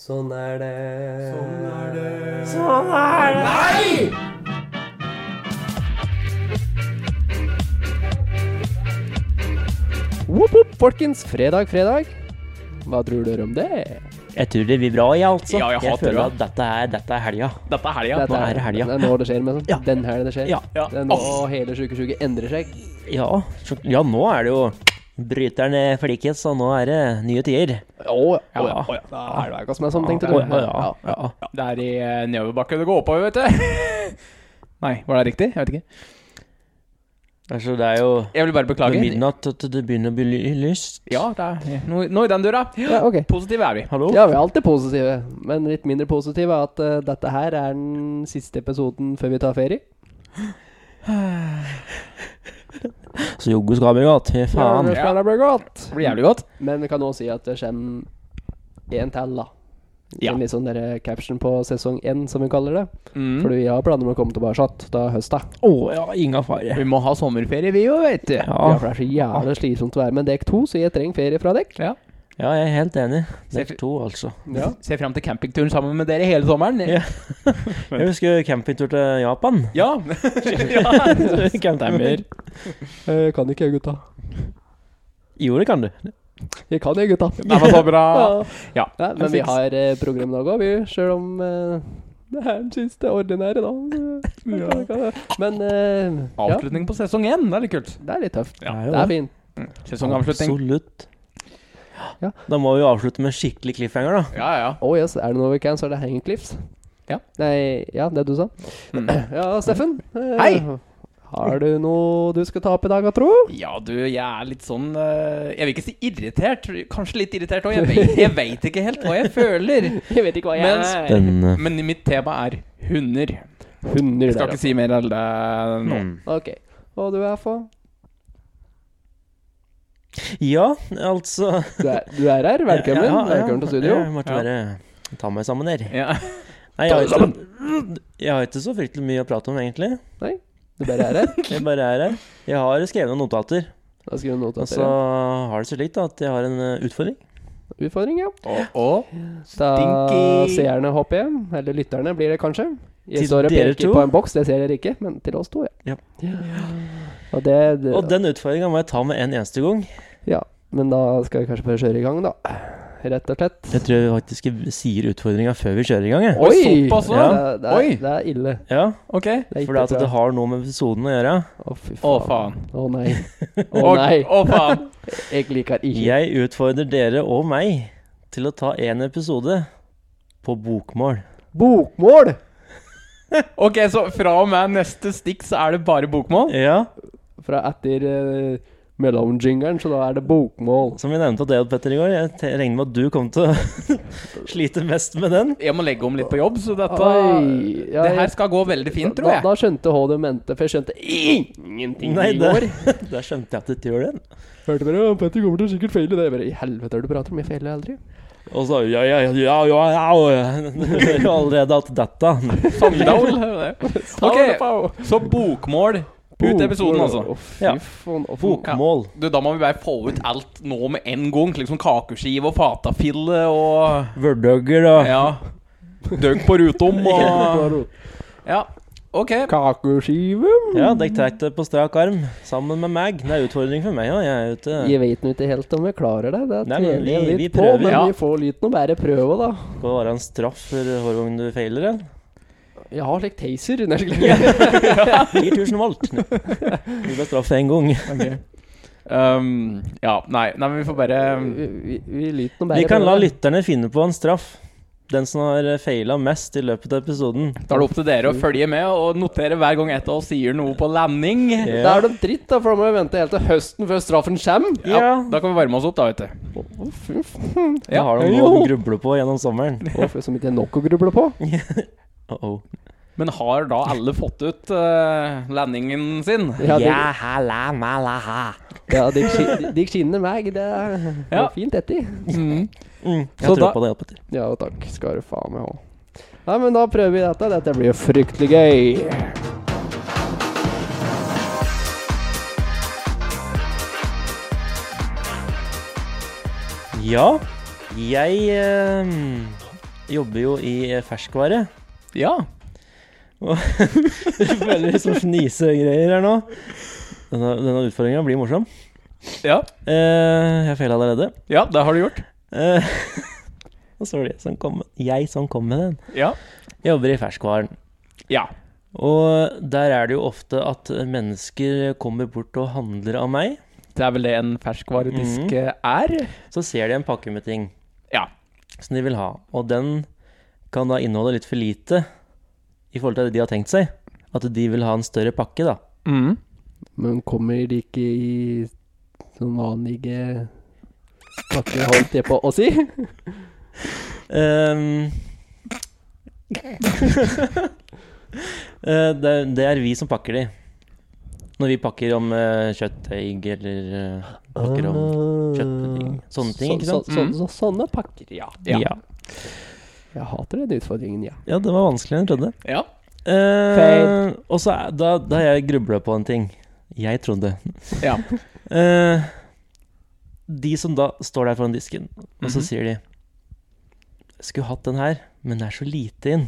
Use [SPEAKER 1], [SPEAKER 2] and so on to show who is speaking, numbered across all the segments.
[SPEAKER 1] Sånn er det.
[SPEAKER 2] Sånn er det.
[SPEAKER 1] Sånn er det. Wopp, wopp, folkens. Fredag, fredag. Hva tror dere om det?
[SPEAKER 3] Jeg tror det blir bra, jeg, altså.
[SPEAKER 2] Ja, jeg har
[SPEAKER 3] føler
[SPEAKER 2] trua.
[SPEAKER 3] at dette er, dette er helga.
[SPEAKER 2] Dette er helga.
[SPEAKER 1] Dette
[SPEAKER 3] er det helga.
[SPEAKER 1] Det er nå det skjer. Med,
[SPEAKER 3] Ja.
[SPEAKER 1] Den helga det skjer.
[SPEAKER 3] Ja.
[SPEAKER 2] Ja.
[SPEAKER 1] Det er nå
[SPEAKER 2] Åh,
[SPEAKER 1] hele 2020 endrer seg.
[SPEAKER 3] Ja, så, ja, nå er det jo Bryteren flikes, og nå er det nye tider.
[SPEAKER 1] Å ja.
[SPEAKER 2] ja, ja, ja.
[SPEAKER 1] Da er det hva som er sånn, tenkte
[SPEAKER 3] Å,
[SPEAKER 1] du.
[SPEAKER 3] ja, ja, ja.
[SPEAKER 2] Det er i eh, nedoverbakke det går oppover, vet du. Nei, var det riktig? Jeg vet ikke.
[SPEAKER 3] Altså, det er jo
[SPEAKER 2] Jeg vil bare
[SPEAKER 3] ved
[SPEAKER 2] beklage.
[SPEAKER 3] midnatt at det begynner å bli ly- lyst.
[SPEAKER 2] Ja, det er noe, noe i den døra.
[SPEAKER 1] Ja, ok.
[SPEAKER 2] Positive er vi.
[SPEAKER 3] Hallo?
[SPEAKER 1] Ja, vi er alltid positive, men litt mindre positive er at eh, dette her er den siste episoden før vi tar ferie.
[SPEAKER 3] Så jogge skal bli godt. Fy faen.
[SPEAKER 1] det skal bli godt.
[SPEAKER 2] Det blir jævlig godt.
[SPEAKER 1] Men vi kan også si at det kommer én til, da.
[SPEAKER 2] Ja.
[SPEAKER 1] En litt sånn der caption på sesong én, som vi kaller det.
[SPEAKER 2] Mm.
[SPEAKER 1] Fordi vi har planer om å komme tilbake igjen da høsta.
[SPEAKER 3] Å ja, inga fare.
[SPEAKER 2] Vi må ha sommerferie, vi òg, vet du.
[SPEAKER 3] Ja,
[SPEAKER 1] Ja, for det er så
[SPEAKER 2] Ah.
[SPEAKER 1] jævlig slitsomt å være med dekk to, så jeg trenger ferie fra dekk.
[SPEAKER 2] Ja.
[SPEAKER 3] ja, jeg er helt enig.
[SPEAKER 2] Se-
[SPEAKER 3] Dekk to, altså.
[SPEAKER 1] Ja.
[SPEAKER 2] Ser fram til campingturen sammen med dere hele sommeren.
[SPEAKER 3] Ja. Jeg husker campingtur til Japan.
[SPEAKER 2] ja.
[SPEAKER 3] Camptimer.
[SPEAKER 1] Jeg Eh, kan ikke jeg, gutta.
[SPEAKER 3] Jo, det kan du.
[SPEAKER 1] Jeg kan jeg, gutta.
[SPEAKER 2] Det var så bra. Ja.
[SPEAKER 1] Ja. Nei, men vi
[SPEAKER 2] Fiks.
[SPEAKER 1] har eh, programdag òg, vi. Sjøl om eh, det er den siste ordinære, da. Men eh, ja,
[SPEAKER 2] Avslutning på sesong én. Det er litt kult.
[SPEAKER 1] det er litt tøft.
[SPEAKER 2] Ja,
[SPEAKER 3] er jo
[SPEAKER 1] Det er fint.
[SPEAKER 2] Sesongavslutning.
[SPEAKER 3] Absolutt.
[SPEAKER 1] Ja.
[SPEAKER 3] Da må vi jo avslutte med en skikkelig cliffhanger, da.
[SPEAKER 2] Ja, ja.
[SPEAKER 1] Oh yes, er det noe vi kan, så er det Hanging Cliffs.
[SPEAKER 2] Ja.
[SPEAKER 1] Nei, ja, det du sa.
[SPEAKER 2] Mm.
[SPEAKER 1] Ja, Steffen. eh,
[SPEAKER 2] Hei!
[SPEAKER 1] Har du noe du skal ta opp i dag, jeg tro?
[SPEAKER 2] Ja, du, jeg er litt sånn eh, Jeg vil ikke si irritert. Kanskje litt irritert òg. Jeg, vet- jeg veit ikke helt hva jeg føler.
[SPEAKER 1] Jeg vet ikke hva
[SPEAKER 2] jeg er.
[SPEAKER 3] Den eh,
[SPEAKER 2] Men mitt tema er hunder.
[SPEAKER 1] Hunder
[SPEAKER 2] Jeg skal
[SPEAKER 1] der,
[SPEAKER 2] ikke si mer enn det
[SPEAKER 1] Hmm.
[SPEAKER 2] nå.
[SPEAKER 3] Mm.
[SPEAKER 1] ja. Ok. Og du er for?
[SPEAKER 3] Ja, altså
[SPEAKER 1] Du er, du er her, velkommen.
[SPEAKER 3] Ja, ja, ja.
[SPEAKER 1] velkommen til studio.
[SPEAKER 3] Jeg måtte
[SPEAKER 2] Ja.
[SPEAKER 3] bare ta meg sammen der.
[SPEAKER 2] Ja.
[SPEAKER 3] Nei, jeg, har ikke, jeg har ikke så fryktelig mye å prate om, egentlig.
[SPEAKER 1] Du bare er her.
[SPEAKER 3] Jeg bare er her. Jeg har skrevet noen notater,
[SPEAKER 1] Da skriver du noe
[SPEAKER 3] og
[SPEAKER 1] til
[SPEAKER 3] så
[SPEAKER 1] dere.
[SPEAKER 3] har det seg slik da, at jeg har en eh, utfordring.
[SPEAKER 1] Utfordring, ja.
[SPEAKER 2] Og, og
[SPEAKER 1] Da
[SPEAKER 2] Stinky.
[SPEAKER 1] seerne hopper hjem. Eller lytterne blir det kanskje. Jeg
[SPEAKER 3] Til
[SPEAKER 1] står og
[SPEAKER 3] dere
[SPEAKER 1] peker
[SPEAKER 3] to?
[SPEAKER 1] på en boks, det ser dere ikke, men til oss to, ja.
[SPEAKER 3] Ja.
[SPEAKER 1] Og det, det
[SPEAKER 3] Og den utfordringa må jeg ta med en eneste gang.
[SPEAKER 1] Ja, men da skal vi kanskje bare kjøre i gang, da. Rett og slett.
[SPEAKER 3] Jeg tror jeg faktisk sier utfordringa før vi kjører i gang. Jeg.
[SPEAKER 2] Oi, såpass,
[SPEAKER 1] det,
[SPEAKER 3] ja.
[SPEAKER 1] er- det,
[SPEAKER 2] Oi.
[SPEAKER 1] er, det er ille.
[SPEAKER 3] Ja,
[SPEAKER 2] OK.
[SPEAKER 1] Det er
[SPEAKER 3] For
[SPEAKER 1] ikke
[SPEAKER 3] det, at det
[SPEAKER 1] bra.
[SPEAKER 3] har noe med episoden å gjøre.
[SPEAKER 1] Å, fy
[SPEAKER 2] Å,
[SPEAKER 1] faen.
[SPEAKER 2] faen.
[SPEAKER 1] Å nei. Å
[SPEAKER 2] Å,
[SPEAKER 1] nei.
[SPEAKER 2] Å, faen.
[SPEAKER 1] Jeg liker ikke
[SPEAKER 3] Jeg utfordrer dere og meg til å ta én episode på bokmål.
[SPEAKER 1] Bokmål!
[SPEAKER 2] OK, så fra og med neste stikk så er det bare bokmål?
[SPEAKER 3] Ja,
[SPEAKER 1] Fra etter uh, mellomjingeren, så da er det bokmål.
[SPEAKER 3] Som vi nevnte av deg, Petter, i går, jeg te- regner med at du kom til å slite mest med den.
[SPEAKER 2] Jeg må legge om litt på jobb, så dette
[SPEAKER 1] Oi, ja,
[SPEAKER 2] Det
[SPEAKER 1] jeg-
[SPEAKER 2] her skal gå veldig fint, tror
[SPEAKER 1] Da,
[SPEAKER 2] jeg.
[SPEAKER 1] da skjønte jeg hva du mente, for jeg skjønte ingenting
[SPEAKER 3] Nei,
[SPEAKER 1] i går.
[SPEAKER 3] det, der skjønte jeg at du ikke gjør den.
[SPEAKER 1] Hørte bare at Petter kommer til å sikkert feile det. Jeg bare, I helvete, er det du prater om? Jeg feiler aldri.
[SPEAKER 3] Og så ja, ja, ja, ja, ja, ja. Du hører jo allerede at dette
[SPEAKER 2] Sandal.
[SPEAKER 1] Saul,
[SPEAKER 2] OK,
[SPEAKER 1] pau.
[SPEAKER 2] så bokmål ut i episoden,
[SPEAKER 1] Bokmål.
[SPEAKER 2] altså.
[SPEAKER 1] Å, fy
[SPEAKER 3] Ja.
[SPEAKER 1] faen. å, fy-
[SPEAKER 3] Bokmål.
[SPEAKER 2] Du, da må vi bare få ut alt nå med en gang. Liksom kakeskive og fatafille og
[SPEAKER 3] Vørdøgger og
[SPEAKER 2] Ja. Døgg på rutom og
[SPEAKER 1] Bokmål.
[SPEAKER 2] Ja, OK.
[SPEAKER 1] Kakeskive?
[SPEAKER 3] Ja, dere tar det på strak arm sammen med meg. Det er utfordring for meg òg. Jeg er ute
[SPEAKER 1] Jeg vet nå ikke helt om jeg klarer det. Det
[SPEAKER 3] Nei,
[SPEAKER 1] tviler
[SPEAKER 3] men vi-
[SPEAKER 1] jeg litt
[SPEAKER 3] vi
[SPEAKER 1] på,
[SPEAKER 3] prøver,
[SPEAKER 1] men
[SPEAKER 2] ja.
[SPEAKER 1] vi får litt noe bare prøve, da.
[SPEAKER 3] på å være en straff for hver gang du feiler en.
[SPEAKER 1] Jeg har slik taser. Nei, slik-
[SPEAKER 3] 4000 volt. Du ble straffet én gang.
[SPEAKER 2] Um, ja, nei, nei, men vi får bare ehm,
[SPEAKER 1] Vi, vi, vi lyter noe
[SPEAKER 3] Vi
[SPEAKER 1] bare
[SPEAKER 3] kan la
[SPEAKER 1] prøve.
[SPEAKER 3] lytterne finne på en straff. Den som har feila mest i løpet av episoden.
[SPEAKER 2] Da er det opp til dere å følge med og notere hver gang et av oss sier noe på landing.
[SPEAKER 1] Da
[SPEAKER 3] Ja.
[SPEAKER 1] er det dritt, da, for da må vi vente helt til høsten før straffen kommer.
[SPEAKER 2] Ja,
[SPEAKER 3] Ja.
[SPEAKER 2] Da kan vi varme oss opp, da, vet du.
[SPEAKER 1] Å, fy f-
[SPEAKER 3] Da har de
[SPEAKER 1] Ja.
[SPEAKER 3] noe å gruble på gjennom sommeren.
[SPEAKER 1] Å, fy, Som ikke er nok å gruble på.
[SPEAKER 3] Uh-oh.
[SPEAKER 2] Men har da alle fått ut eh, landingen sin?
[SPEAKER 1] Ja, de,
[SPEAKER 3] ha, la, ma, la, ha.
[SPEAKER 1] ja, de, ski- de skinner meg. Det er det
[SPEAKER 2] Ja.
[SPEAKER 1] var fint, dette.
[SPEAKER 2] Mm.
[SPEAKER 3] Mm, jeg
[SPEAKER 2] Så
[SPEAKER 3] tror
[SPEAKER 2] da-
[SPEAKER 3] på det, hjelper til.
[SPEAKER 1] Ja, takk skal du faen meg ha. Nei, men da prøver vi dette. Dette blir jo fryktelig gøy.
[SPEAKER 3] Ja, jeg eh, jobber jo i eh, ferskvare.
[SPEAKER 2] Ja.
[SPEAKER 3] Du føler liksom fnisegreier her nå. Denne, denne utfordringa blir morsom.
[SPEAKER 2] ja.
[SPEAKER 3] Eh, jeg feiler allerede.
[SPEAKER 2] Ja, det har du gjort.
[SPEAKER 3] Eh, og så var det jeg som kom, jeg som kom med den.
[SPEAKER 2] Ja.
[SPEAKER 3] Jeg jobber i ferskvaren.
[SPEAKER 2] Ja.
[SPEAKER 3] Og der er det jo ofte at mennesker kommer bort og handler av meg.
[SPEAKER 2] Det er vel det en ferskvaredisk
[SPEAKER 3] Mhm.
[SPEAKER 2] eh, er.
[SPEAKER 3] Så ser de en pakke med ting
[SPEAKER 2] Ja.
[SPEAKER 3] som de vil ha. Og den kan da inneholde litt for lite i forhold til det de har tenkt seg. At de vil ha en større pakke, da.
[SPEAKER 2] Mhm.
[SPEAKER 1] Men kommer de ikke i sånn vanlige pakker, holdt jeg på å si?
[SPEAKER 3] Ehm. Eh, det, er, det er vi som pakker de. Når vi pakker om eh, kjøttdeig eller eh, pakker om kjøttpudding. Sånne ting, ikke sant?
[SPEAKER 1] Så, så,
[SPEAKER 2] Mm.
[SPEAKER 1] så, sånne pakker, ja.
[SPEAKER 2] Ja.
[SPEAKER 3] ja.
[SPEAKER 1] Jeg hater den utfordringen, ja.
[SPEAKER 3] Ja, det var vanskeligere enn jeg trodde.
[SPEAKER 2] ja.
[SPEAKER 3] Eh,
[SPEAKER 1] Feil.
[SPEAKER 3] og så er- da, da har jeg grubla på en ting. Jeg trodde.
[SPEAKER 2] Ja.
[SPEAKER 3] Eh, de som da står der foran disken, og så
[SPEAKER 2] Mhm.
[SPEAKER 3] sier de Skulle hatt den her, men det er så lite inn.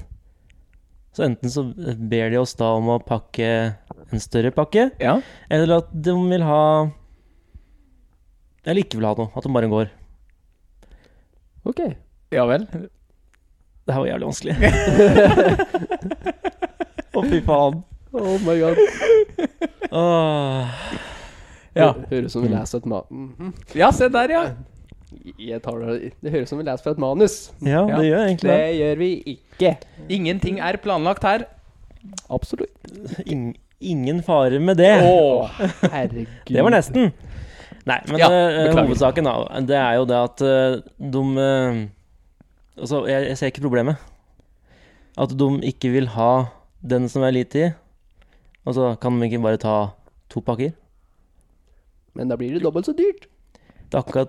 [SPEAKER 3] Så enten så eh, ber de oss da om å pakke en større pakke,
[SPEAKER 2] ja.
[SPEAKER 3] eller at de vil ha Eller ikke vil ha noe. At de bare går.
[SPEAKER 1] Ok.
[SPEAKER 2] Ja vel.
[SPEAKER 3] Det her var jævlig vanskelig. Å, fy faen.
[SPEAKER 1] Oh my god.
[SPEAKER 3] Åh.
[SPEAKER 2] Ja.
[SPEAKER 1] Det høres ut som vi
[SPEAKER 3] Mm.
[SPEAKER 1] leser et ma... Mhm.
[SPEAKER 2] ja, se der, ja.
[SPEAKER 1] Jeg tar det Det høres ut som vi leser fra et manus.
[SPEAKER 3] Ja,
[SPEAKER 2] Ja.
[SPEAKER 3] det gjør egentlig
[SPEAKER 1] Det
[SPEAKER 3] det.
[SPEAKER 1] gjør vi ikke.
[SPEAKER 2] Ingenting er planlagt her.
[SPEAKER 1] Absolutt.
[SPEAKER 3] Ing- ingen fare med det.
[SPEAKER 2] Åh.
[SPEAKER 1] Herregud.
[SPEAKER 3] Det var nesten. Nei, men
[SPEAKER 2] Ja,
[SPEAKER 3] eh,
[SPEAKER 2] beklager.
[SPEAKER 3] hovedsaken da, det er jo det at eh, de eh, Altså, jeg, jeg ser ikke problemet. At de ikke vil ha den som er lite i. Og så kan de ikke bare ta to pakker.
[SPEAKER 1] Men da blir det dobbelt så dyrt.
[SPEAKER 3] Det er akkurat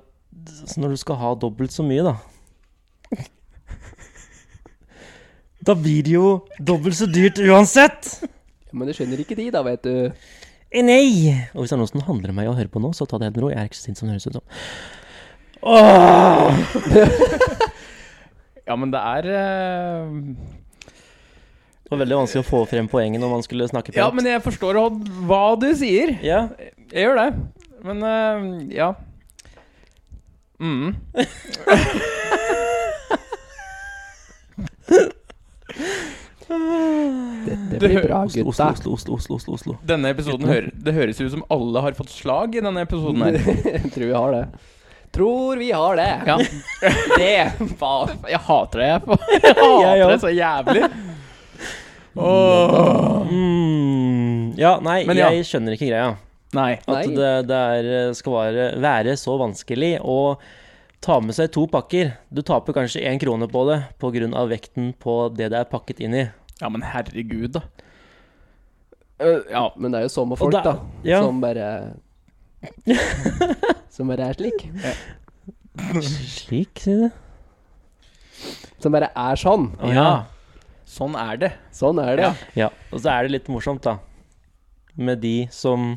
[SPEAKER 3] som når du skal ha dobbelt så mye, da. Da blir det jo dobbelt så dyrt uansett!
[SPEAKER 1] Ja, Men det skjønner ikke de, da, vet du.
[SPEAKER 3] Eh, Nei! Og hvis det er noen som handler meg og hører på nå, så ta det helt med ro. Jeg er ikke så sint som det høres ut som. Åh!
[SPEAKER 2] Ja, men det er eh,
[SPEAKER 3] Det var veldig vanskelig å få frem poenget når man skulle snakke pent.
[SPEAKER 2] Ja, men jeg forstår Odd, hva du sier.
[SPEAKER 3] ja.
[SPEAKER 2] Jeg gjør det. Men eh, ja. Mm.
[SPEAKER 1] Dette
[SPEAKER 2] Det
[SPEAKER 1] blir
[SPEAKER 2] hø-
[SPEAKER 1] bra,
[SPEAKER 3] Oslo,
[SPEAKER 1] gutta.
[SPEAKER 3] Oslo, Oslo, Oslo, Oslo, Oslo.
[SPEAKER 2] Denne episoden hører, Det høres ut som alle har fått slag i denne episoden her.
[SPEAKER 1] Jeg tror vi har det. Tror vi har det.
[SPEAKER 2] Ja.
[SPEAKER 1] Det var
[SPEAKER 2] Jeg hater det, jeg. Jeg hater
[SPEAKER 3] Jeg
[SPEAKER 2] det så jævlig. Åh.
[SPEAKER 3] Mm, ja, nei,
[SPEAKER 2] Men ja.
[SPEAKER 3] jeg skjønner ikke greia.
[SPEAKER 2] Nei.
[SPEAKER 3] At
[SPEAKER 1] Nei.
[SPEAKER 3] det, det er, skal være, være så vanskelig å ta med seg to pakker. Du taper kanskje én krone på det pga. vekten på det det er pakket inn i.
[SPEAKER 2] Ja, men herregud, da. Eh, ja.
[SPEAKER 1] Men det er jo sånne folk,
[SPEAKER 3] Og det-
[SPEAKER 1] da.
[SPEAKER 3] ja.
[SPEAKER 1] Som bare Som bare er slik.
[SPEAKER 3] Slik, sier du?
[SPEAKER 1] Som bare er sånn.
[SPEAKER 3] Å,
[SPEAKER 2] ja. Sånn er det.
[SPEAKER 1] Sånn er det.
[SPEAKER 2] Ja.
[SPEAKER 3] Ja, og så er det litt morsomt, da. Med de som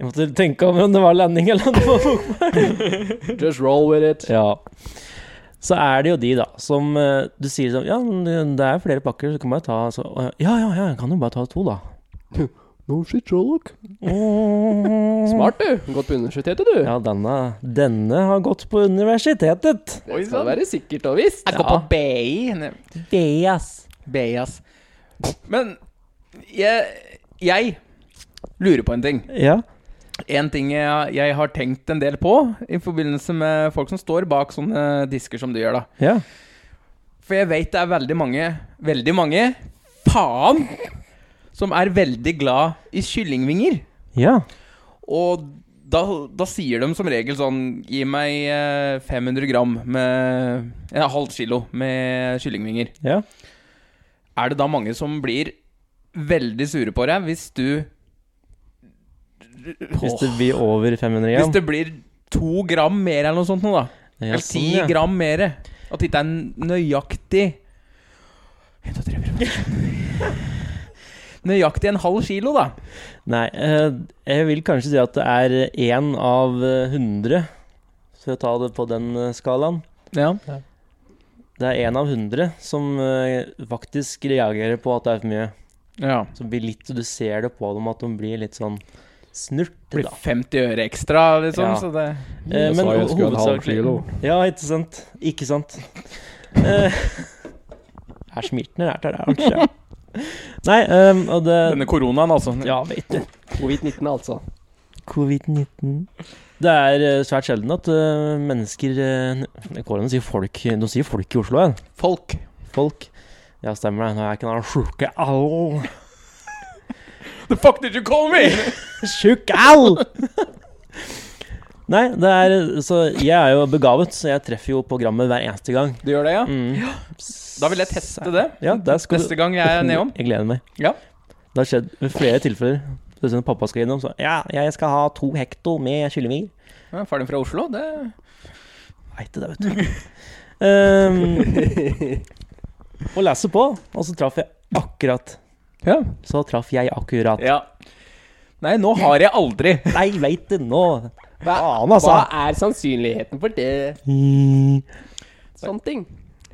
[SPEAKER 3] Jeg måtte tenke om om det var landing eller om det var bokmål.
[SPEAKER 1] Just roll with it.
[SPEAKER 3] Ja. Så er det jo de, da, som eh, du sier sånn Ja, men det er flere pakker, så kan man jo ta så, eh, Ja, ja, ja, jeg kan jo bare ta to, da.
[SPEAKER 1] No shit, Sherlock. Smart, du. Gått på universitetet, du.
[SPEAKER 3] Ja, denne, denne har gått på universitetet.
[SPEAKER 1] Det
[SPEAKER 2] Oi,
[SPEAKER 1] skal
[SPEAKER 2] sann.
[SPEAKER 1] være sikkert og visst.
[SPEAKER 2] Jeg går på BI. Nei,
[SPEAKER 3] Yes.
[SPEAKER 2] BI, ass. Men jeg, jeg lurer på en ting.
[SPEAKER 3] Ja.
[SPEAKER 2] En ting jeg, jeg har tenkt en del på i forbindelse med folk som står bak sånne disker som du gjør, da.
[SPEAKER 3] ja.
[SPEAKER 2] For jeg vet det er veldig mange, veldig mange, faen, som er veldig glad i kyllingvinger.
[SPEAKER 3] Ja.
[SPEAKER 2] Og da, da sier de som regel sånn Gi meg eh, 500 gram med En halv kilo med kyllingvinger.
[SPEAKER 3] Ja.
[SPEAKER 2] Er det da mange som blir veldig sure på deg hvis du
[SPEAKER 3] Hvis det blir over 500
[SPEAKER 2] Hvis
[SPEAKER 3] gram.
[SPEAKER 2] det blir to gram mer eller noe sånt nå, da.
[SPEAKER 3] Ja,
[SPEAKER 2] Eller ti
[SPEAKER 3] sånn, ja.
[SPEAKER 2] gram mer. At det ikke er nøyaktig En, to, tre, fire, fem. Nøyaktig en halv kilo, da.
[SPEAKER 3] Nei, eh, jeg vil kanskje si at det er én av eh, 100, for å ta det på den eh, skalaen.
[SPEAKER 2] Ja.
[SPEAKER 3] Det Det er én av hundre som eh, faktisk reagerer på at det er for mye.
[SPEAKER 2] Ja.
[SPEAKER 3] Som blir litt, Du ser det på dem at de blir litt sånn snurte,
[SPEAKER 2] Blir
[SPEAKER 3] da.
[SPEAKER 2] 50 øre ekstra, liksom.
[SPEAKER 3] Ja.
[SPEAKER 2] Så det
[SPEAKER 3] Eh,
[SPEAKER 1] Jeg sa
[SPEAKER 3] men
[SPEAKER 1] jeg skulle ha en halv
[SPEAKER 3] hovedsakelig-
[SPEAKER 1] kilo.
[SPEAKER 3] Ja, ikke sant? Ikke sant? Eh, Her smirten er der, der, der. Nei, ehm, og det
[SPEAKER 2] Denne koronaen, altså.
[SPEAKER 3] Ja, vet du.
[SPEAKER 1] Covid-19, altså.
[SPEAKER 3] Covid-19. Det er eh, svært sjelden at eh, mennesker eh, Jeg går an å si folk. Nå sier folk i Oslo, ja.
[SPEAKER 2] Folk.
[SPEAKER 3] Folk. Ja, stemmer det. Nå er jeg ikke noen sjuke au.
[SPEAKER 2] The fuck did you call me?!
[SPEAKER 3] Sjuk au! Nei, det er Så jeg er jo begavet, så jeg treffer jo programmet hver eneste gang.
[SPEAKER 2] Du gjør det, ja?
[SPEAKER 3] Mm.
[SPEAKER 2] Da vil jeg teste det.
[SPEAKER 3] Ja, der skal du-
[SPEAKER 2] Neste gang jeg er nedom.
[SPEAKER 3] Jeg gleder meg.
[SPEAKER 2] Ja.
[SPEAKER 3] Det har skjedd ved flere tilfeller. Det er sånn at pappa skal innom, så Ja, jeg skal ha to hekto med kyllingvinger.
[SPEAKER 2] Ja, Faren din fra Oslo, det
[SPEAKER 3] Veit det, vet du. Ehm, og lese på, og så traff jeg akkurat.
[SPEAKER 2] Ja.
[SPEAKER 3] Så traff jeg akkurat.
[SPEAKER 2] ja. Nei, nå har jeg aldri
[SPEAKER 3] Nei, veit du nå!
[SPEAKER 1] Hva,
[SPEAKER 3] Faen, altså.
[SPEAKER 1] hva er sannsynligheten for det? Sånne ting.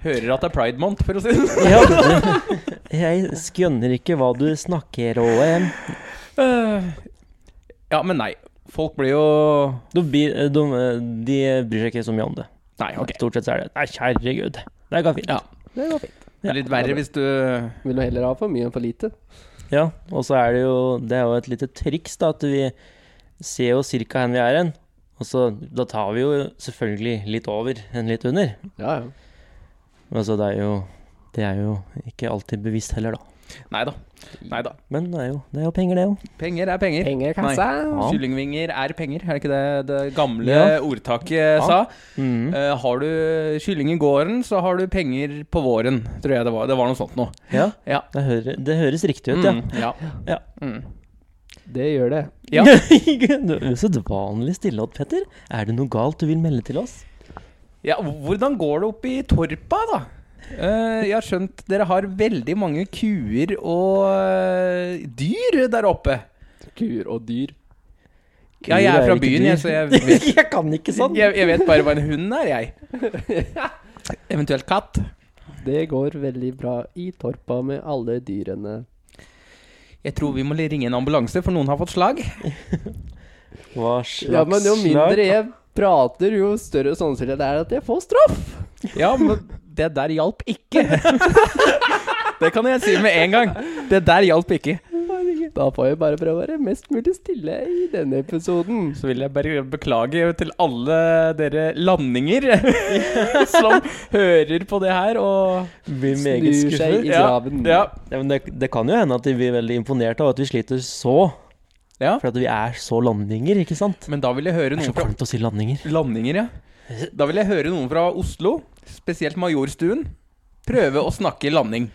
[SPEAKER 2] Hører at det er pride month, for å si det sånn.
[SPEAKER 3] Ja, du, jeg skjønner ikke hva du snakker om.
[SPEAKER 2] Eh, Ja, men nei. Folk blir jo
[SPEAKER 3] De, blir- de, de bryr seg ikke så mye om det.
[SPEAKER 2] Nei, ok.
[SPEAKER 3] Stort sett så er det Nei, herregud. Det går fint.
[SPEAKER 2] Ja.
[SPEAKER 1] Det går fint.
[SPEAKER 2] Det er litt verre hvis du
[SPEAKER 1] Vil du heller ha for mye enn for lite?
[SPEAKER 3] Ja, og så er det jo Det er jo et lite triks, da, at vi ser jo cirka hen vi er hen. Og så da tar vi jo selvfølgelig litt over enn litt under.
[SPEAKER 1] Ja, ja.
[SPEAKER 3] Men altså, det er jo Det er jo ikke alltid bevisst heller, da.
[SPEAKER 2] Nei da. Nei da.
[SPEAKER 3] Men det er jo, det er jo penger, det òg.
[SPEAKER 2] Penger er penger.
[SPEAKER 1] Penger i kassa.
[SPEAKER 3] Ja.
[SPEAKER 2] Kyllingvinger er penger, er det ikke det det gamle
[SPEAKER 3] Ja.
[SPEAKER 2] ordtaket sa?
[SPEAKER 3] Mm.
[SPEAKER 2] Eh, har du kylling i gården, så har du penger på våren, tror jeg det var. Det var noe sånt noe.
[SPEAKER 3] Ja.
[SPEAKER 2] Ja.
[SPEAKER 3] Det, hører, det høres riktig ut,
[SPEAKER 2] Mm, ja.
[SPEAKER 3] ja.
[SPEAKER 2] Mm.
[SPEAKER 1] Det gjør det.
[SPEAKER 2] Ja.
[SPEAKER 3] Du er Usedvanlig stillhet, Petter. Er det noe galt du vil melde til oss?
[SPEAKER 2] Ja, hvordan går det opp i Torpa, da? Eh, jeg har skjønt dere har veldig mange kuer og eh, dyr der oppe.
[SPEAKER 1] Kur og dyr.
[SPEAKER 2] Ja,
[SPEAKER 3] Kuer
[SPEAKER 2] jeg er
[SPEAKER 3] er
[SPEAKER 2] fra
[SPEAKER 3] ikke
[SPEAKER 2] byen,
[SPEAKER 3] dyr. Sånn.
[SPEAKER 2] jeg, så jeg vet,
[SPEAKER 3] kan ikke
[SPEAKER 2] jeg, jeg vet bare hva en hund er, jeg. Eventuelt katt.
[SPEAKER 1] Det går veldig bra i Torpa med alle dyrene.
[SPEAKER 2] Jeg tror vi må ringe en ambulanse, for noen har fått slag.
[SPEAKER 3] Hva slags
[SPEAKER 1] Ja, men jo mindre
[SPEAKER 3] slag?
[SPEAKER 1] jeg prater, jo større sannsynlighet er det at jeg får straff.
[SPEAKER 2] Ja, men det der hjalp ikke. Det kan jeg si med en gang. Det der hjalp ikke.
[SPEAKER 1] Da får jeg bare prøve å være mest mulig stille i denne episoden.
[SPEAKER 2] Så vil jeg bare beklage til alle dere landinger som hører på det her og
[SPEAKER 3] Blir meget
[SPEAKER 1] Snur seg
[SPEAKER 3] skuffet.
[SPEAKER 1] i graven.
[SPEAKER 2] Ja.
[SPEAKER 3] Ja, men det, det kan jo hende at de blir veldig imponert av at vi sliter så,
[SPEAKER 2] ja.
[SPEAKER 3] for at vi er så landinger, ikke sant?
[SPEAKER 2] Men da vil jeg høre
[SPEAKER 3] Det er
[SPEAKER 2] noen
[SPEAKER 3] så
[SPEAKER 2] fra
[SPEAKER 3] kvalmt å si landinger.
[SPEAKER 2] Landinger, ja. Da vil jeg høre noen fra Oslo, spesielt Majorstuen, prøve å snakke landing.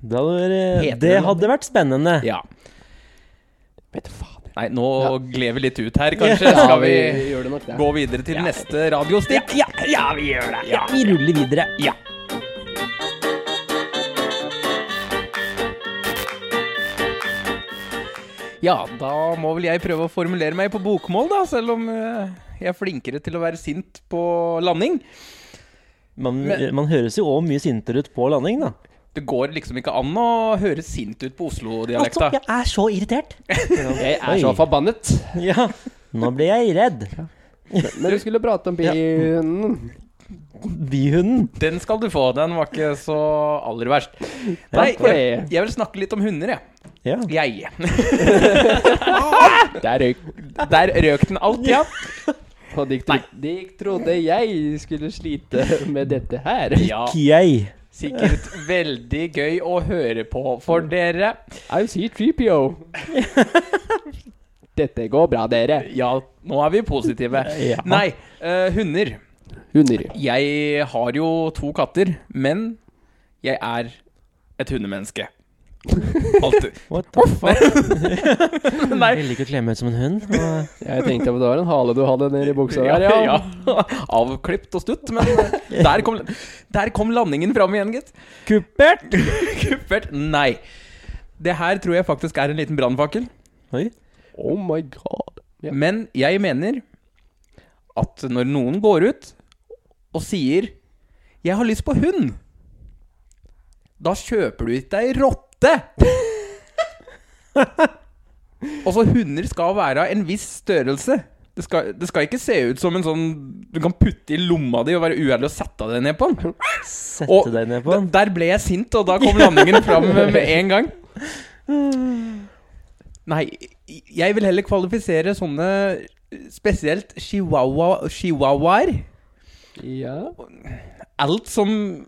[SPEAKER 3] Det hadde,
[SPEAKER 2] Heter
[SPEAKER 3] vært, eh, det
[SPEAKER 2] det
[SPEAKER 3] hadde vært spennende.
[SPEAKER 2] Ja.
[SPEAKER 1] Vet du faen.
[SPEAKER 2] Nei, nå
[SPEAKER 1] Ja.
[SPEAKER 2] gled vi litt ut her, kanskje. Skal vi
[SPEAKER 1] gjør det nok der.
[SPEAKER 2] gå videre til neste radiostikk? Ja, vi gjør det. Ja.
[SPEAKER 3] Vi ruller videre.
[SPEAKER 2] Ja. Ja, da må vel jeg prøve å formulere meg på bokmål, da, selv om eh, jeg er flinkere til å være sint på landing.
[SPEAKER 3] Man,
[SPEAKER 2] Men-
[SPEAKER 3] man høres jo òg mye sintere ut på landing, da.
[SPEAKER 2] Det går liksom ikke an å høre sint ut på
[SPEAKER 3] Altså,
[SPEAKER 2] Oslo-dialekta.
[SPEAKER 3] jeg er så irritert.
[SPEAKER 1] Jeg er så
[SPEAKER 3] Oi.
[SPEAKER 1] forbannet.
[SPEAKER 3] Ja. Nå ble jeg redd.
[SPEAKER 1] Men du skulle prate om bihunden.
[SPEAKER 3] Bihunden.
[SPEAKER 2] Den skal du få. Den var ikke så aller verst. Nei,
[SPEAKER 1] for
[SPEAKER 2] jeg,
[SPEAKER 1] det.
[SPEAKER 2] jeg vil snakke litt om hunder, jeg.
[SPEAKER 3] Ja.
[SPEAKER 2] Jeg.
[SPEAKER 1] Der røyk
[SPEAKER 2] Der røk den alt, ja.
[SPEAKER 1] Og de, tro de trodde jeg skulle slite med dette her.
[SPEAKER 2] ja.
[SPEAKER 3] Ah. Kiei.
[SPEAKER 2] Sikkert veldig gøy å høre på for dere.
[SPEAKER 1] I see 3PO. Dette går bra, dere.
[SPEAKER 2] Ja, nå er vi positive.
[SPEAKER 3] Ja.
[SPEAKER 2] Nei, eh, hunder.
[SPEAKER 1] Hunder.
[SPEAKER 2] Jeg har jo to katter, men jeg er et hundemenneske. Alltid.
[SPEAKER 3] What the fuck?
[SPEAKER 2] Nei.
[SPEAKER 3] Jeg liker å kle meg ut som en hund. Og
[SPEAKER 1] Jeg tenkte på det var en hale du hadde nedi buksa der, ja.
[SPEAKER 2] Ja, ja. Avklipt og stutt, men eh, der kom, der kom landingen fram igjen, gitt. Kuppert! Kuppert, nei. Det her tror jeg faktisk er en liten brannfakkel.
[SPEAKER 3] Oi.
[SPEAKER 1] Oh my god. Ja.
[SPEAKER 2] Men jeg mener at når noen går ut og sier 'jeg har lyst på hund', Da kjøper du ikke ei rotte! Altså, hunder skal være av en viss størrelse. Det skal, det skal ikke se ut som en sånn du kan putte i lomma di og være uærlig og sette deg ned på den.
[SPEAKER 3] Sette
[SPEAKER 2] Og-
[SPEAKER 3] deg ned på
[SPEAKER 2] Der,
[SPEAKER 3] den.
[SPEAKER 2] Sånn, der ble jeg sint, og da kom landingen fram med med en gang. Nei, jeg vil heller kvalifisere sånne spesielt chihuahua, chihuahuaer.
[SPEAKER 1] Ja.
[SPEAKER 2] Alt som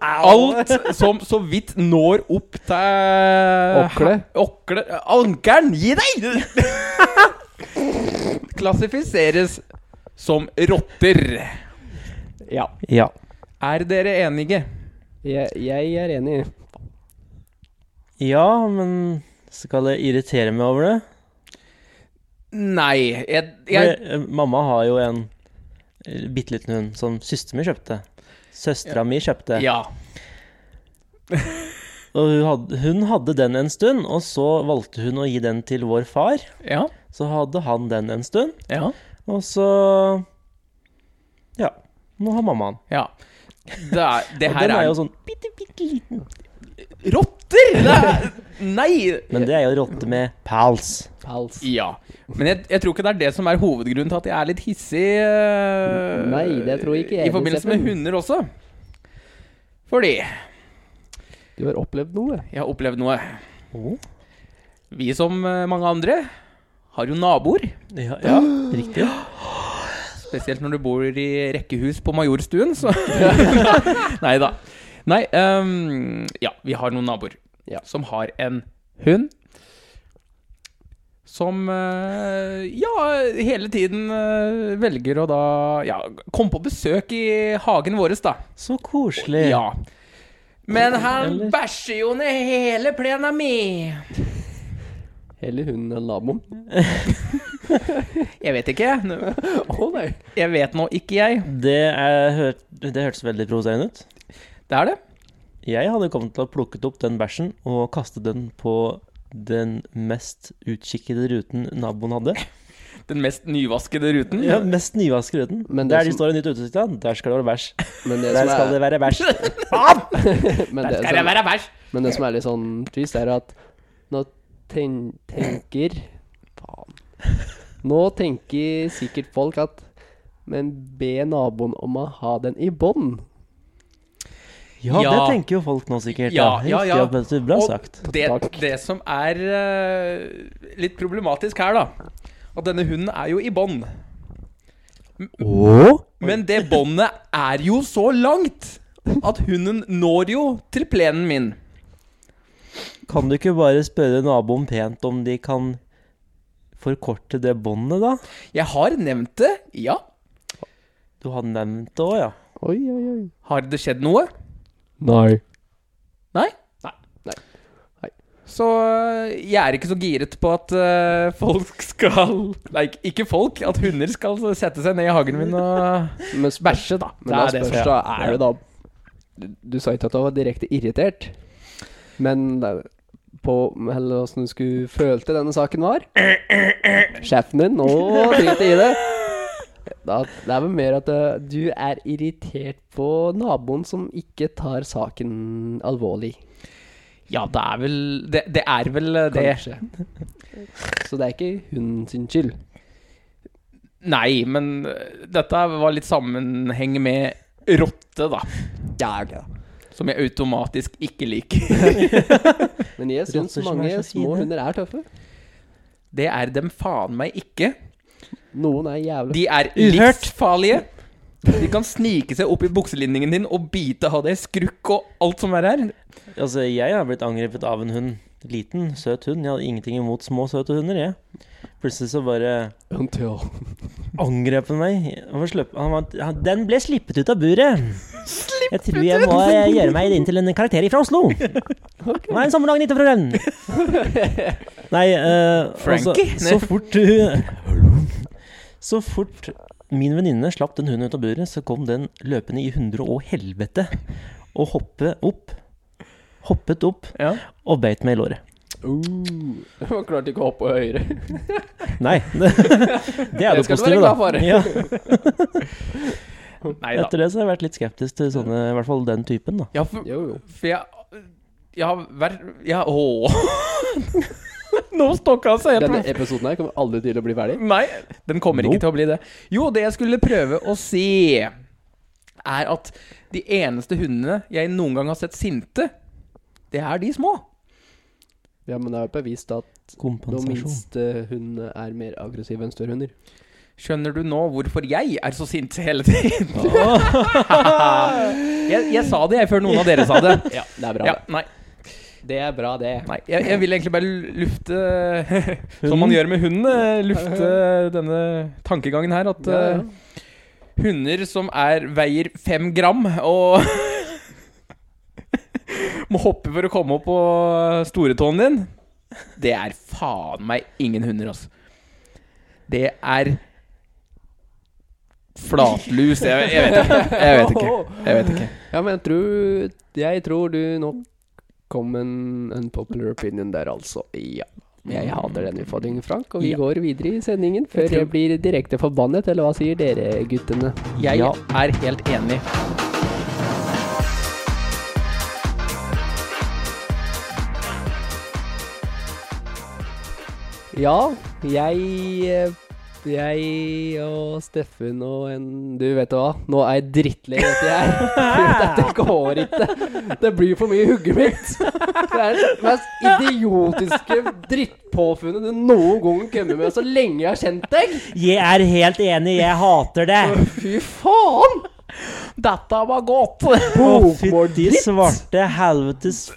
[SPEAKER 2] Alt som så vidt når opp til
[SPEAKER 1] Okle.
[SPEAKER 2] Okle. Ankeren! Gi deg! Klassifiseres som rotter.
[SPEAKER 1] ja.
[SPEAKER 3] Ja.
[SPEAKER 2] Er dere enige?
[SPEAKER 1] Jeg, jeg er enig.
[SPEAKER 3] ja, men skal jeg irritere meg over det?
[SPEAKER 2] Nei. Jeg, jeg,
[SPEAKER 3] For, eh, Mamma har jo en eh, bitte liten hund som søsteren min kjøpte. Søstera mi kjøpte.
[SPEAKER 2] ja.
[SPEAKER 3] Og hun hadde, hun hadde den en stund, og så valgte hun å gi den til vår far.
[SPEAKER 2] Ja.
[SPEAKER 3] Så hadde han den en stund,
[SPEAKER 2] Ja.
[SPEAKER 3] og så Ja. Nå har mamma han.
[SPEAKER 2] ja. Det, er, det
[SPEAKER 3] Og
[SPEAKER 2] her
[SPEAKER 3] den er
[SPEAKER 2] er
[SPEAKER 3] jo sånn bitte, bitte liten.
[SPEAKER 1] sånn-
[SPEAKER 2] Rotter! Det er, nei!
[SPEAKER 3] Men det er jo rotte med pals.
[SPEAKER 1] Fals.
[SPEAKER 2] Ja. Men jeg, jeg tror ikke det er det som er hovedgrunnen til at jeg er litt hissig eh,
[SPEAKER 1] Nei, det tror ikke jeg,
[SPEAKER 2] I forbindelse med
[SPEAKER 1] Steffen.
[SPEAKER 2] hunder også. Fordi
[SPEAKER 1] Du har opplevd noe.
[SPEAKER 2] jeg har opplevd noe.
[SPEAKER 3] Oh.
[SPEAKER 2] Vi som eh, mange andre har jo naboer.
[SPEAKER 3] Ja, ja, riktig.
[SPEAKER 2] Spesielt når du bor i rekkehus på Majorstuen, så Nei da. Nei, ehm, ja, vi har noen naboer
[SPEAKER 1] Ja.
[SPEAKER 2] som har en hund som eh, ja, hele tiden eh, velger å da ja, komme på besøk i hagen vår, da.
[SPEAKER 3] Så koselig.
[SPEAKER 2] Ja. Men han
[SPEAKER 3] Eller-
[SPEAKER 2] bæsjer jo ned hele plena mi.
[SPEAKER 1] Heller hunden enn naboen.
[SPEAKER 2] Jeg vet ikke. jeg.
[SPEAKER 1] Å nei.
[SPEAKER 2] Jeg vet nå ikke, jeg.
[SPEAKER 3] Det, er, hør- det hørtes veldig provoserende ut.
[SPEAKER 2] Det er det.
[SPEAKER 3] Jeg hadde kommet til å ha plukket opp den bæsjen og kastet den på den mest utkikkede ruten naboen hadde.
[SPEAKER 2] Den mest nyvaskede ruten.
[SPEAKER 3] Ja, mest nyvaskede ruten.
[SPEAKER 1] Men det
[SPEAKER 3] der de
[SPEAKER 1] som-
[SPEAKER 3] står i nytt utesikt, da, der skal det være bæsj.
[SPEAKER 1] Men det,
[SPEAKER 3] Der
[SPEAKER 1] som
[SPEAKER 3] skal det
[SPEAKER 1] er,
[SPEAKER 3] være bæsj.
[SPEAKER 1] men, det
[SPEAKER 2] Skal det
[SPEAKER 1] som,
[SPEAKER 2] være bæsj?
[SPEAKER 1] men det som er litt sånn trist, er at nå ten, tenker Faen. Nå tenker sikkert folk at Men be naboen om å ha den i bånd.
[SPEAKER 3] Ja,
[SPEAKER 2] Ja.
[SPEAKER 3] det tenker jo folk nå sikkert.
[SPEAKER 2] Ja, ja, ja.
[SPEAKER 3] Riktig, Petter, Bra sagt.
[SPEAKER 2] Det,
[SPEAKER 1] Takk.
[SPEAKER 2] det som er eh, litt problematisk her, da At denne hunden er jo i bånd.
[SPEAKER 3] Åh?
[SPEAKER 2] Men det båndet er jo så langt at hunden når jo til plenen min.
[SPEAKER 3] Kan du ikke bare spørre naboen pent om de kan forkorte det båndet, da?
[SPEAKER 2] Jeg har nevnt det, ja.
[SPEAKER 3] Du har nevnt det òg, ja.
[SPEAKER 1] Oi, oi, oi.
[SPEAKER 2] Har det skjedd noe?
[SPEAKER 1] Nei.
[SPEAKER 2] Nei?
[SPEAKER 1] Nei. Nei. Nei.
[SPEAKER 2] Så eh, jeg er ikke så giret på at eh, folk skal Nei, ikke folk. At hunder skal sette seg ned i hagen min og
[SPEAKER 1] Men spørs,
[SPEAKER 2] bæsje, da.
[SPEAKER 1] men da spørs
[SPEAKER 2] som-
[SPEAKER 1] da, er det da du, du sa ikke at du var direkte irritert, men det, på Eller åssen du skulle følte denne saken var? Sjefen din, nå driter jeg i det. Da, det er vel mer at eh, du er irritert på naboen som ikke tar saken alvorlig,
[SPEAKER 2] Ja, det er vel Det, det er vel eh, det.
[SPEAKER 1] kanskje. Så det er ikke hunden sin skyld.
[SPEAKER 2] Nei, men øh, dette var litt sammenheng med rotte, da.
[SPEAKER 1] Ja, okay, da.
[SPEAKER 2] Som jeg automatisk ikke liker.
[SPEAKER 1] Men jeg syns
[SPEAKER 3] Rotter som er
[SPEAKER 1] mange
[SPEAKER 3] så
[SPEAKER 1] små
[SPEAKER 3] fine.
[SPEAKER 1] hunder er tøffe.
[SPEAKER 2] Det er dem faen meg ikke.
[SPEAKER 1] Noen er jævlig
[SPEAKER 2] De er
[SPEAKER 3] Uhørt.
[SPEAKER 2] livsfarlige. De kan snike seg opp i bukselinningen din og bite av deg skrukk og alt som er her.
[SPEAKER 3] Altså, jeg har blitt angrepet av en hund. Liten, søt hund. Jeg hadde ingenting imot små, søte hunder, jeg. Plutselig så bare
[SPEAKER 1] Until.
[SPEAKER 3] angrep han meg. Han var sløpp- han var, han, den ble slippet ut av buret. Jeg tror jeg må eh, gjøre meg inn til en karakter fra Oslo. Nå er det sommerdagen ute, frøken. Nei, eh,
[SPEAKER 2] Frankie?
[SPEAKER 3] Altså, så fort du Så fort min venninne slapp den hunden ut av buret, så kom den løpende i hundre og helvete og hoppe opp. Hoppet opp
[SPEAKER 2] Ja.
[SPEAKER 3] og beit meg i låret.
[SPEAKER 1] Uh, man klarte ikke å hoppe høyere.
[SPEAKER 3] Nei. Det, det er
[SPEAKER 1] Det
[SPEAKER 3] det
[SPEAKER 1] skal du være
[SPEAKER 3] positive, da.
[SPEAKER 1] glad for.
[SPEAKER 3] Ja.
[SPEAKER 2] Nei da.
[SPEAKER 3] Etter det så har jeg vært litt skeptisk til sånne, i hvert fall den typen, da.
[SPEAKER 2] Ja, for,
[SPEAKER 1] Jo, jo.
[SPEAKER 2] for jeg Jeg har vært jeg, Åh! Nå stokka han seg helt
[SPEAKER 1] Denne episoden her kommer aldri til å bli ferdig.
[SPEAKER 2] Nei, den kommer ikke til å bli det. Jo, det jeg skulle prøve å si, er at de eneste hundene jeg noen gang har sett sinte, det er de små.
[SPEAKER 1] Ja, men det er jo bevist at de
[SPEAKER 3] Kompensasjon.
[SPEAKER 1] minste hundene eh, er mer aggressive enn større hunder.
[SPEAKER 2] Skjønner du nå hvorfor jeg er så sint hele tiden? jeg, jeg sa det, jeg, før noen av dere sa det.
[SPEAKER 1] Ja, det er bra,
[SPEAKER 2] Ja, nei,
[SPEAKER 1] det. er bra, det.
[SPEAKER 2] nei. Jeg, jeg vil egentlig bare lufte Som man gjør med hunden. eh, Lufte denne tankegangen her. At
[SPEAKER 1] Ja, ja.
[SPEAKER 2] eh, hunder som er, veier fem gram og må hoppe for å komme opp på storetåen din, det er faen meg ingen hunder, altså. Det er flatlus. Jeg, jeg vet ikke. Jeg vet ikke. Jeg vet ikke.
[SPEAKER 1] Ja, men jeg tror, jeg tror du nok kom med en unpopular opinion der, altså. Ja. Jeg hater den utfordringen, Frank, og vi
[SPEAKER 2] Ja.
[SPEAKER 1] går videre i sendingen før
[SPEAKER 2] tror-
[SPEAKER 1] jeg blir direkte forbannet, eller hva sier dere, guttene?
[SPEAKER 2] Jeg
[SPEAKER 3] Ja.
[SPEAKER 2] er helt enig.
[SPEAKER 1] Ja, jeg eh, Jeg og Steffen og en Du, vet du hva? Nå er jeg drittlei dette her. For Dette går ikke. Det blir for mye i hugget mitt. Det er det mest idiotiske drittpåfunnet du noen gang kommer med så lenge jeg har kjent deg.
[SPEAKER 4] Jeg er helt enig, jeg hater det.
[SPEAKER 1] Fy faen!
[SPEAKER 2] Dette var godt!
[SPEAKER 4] Å,
[SPEAKER 1] Bokmål
[SPEAKER 4] fytti svarte helvetes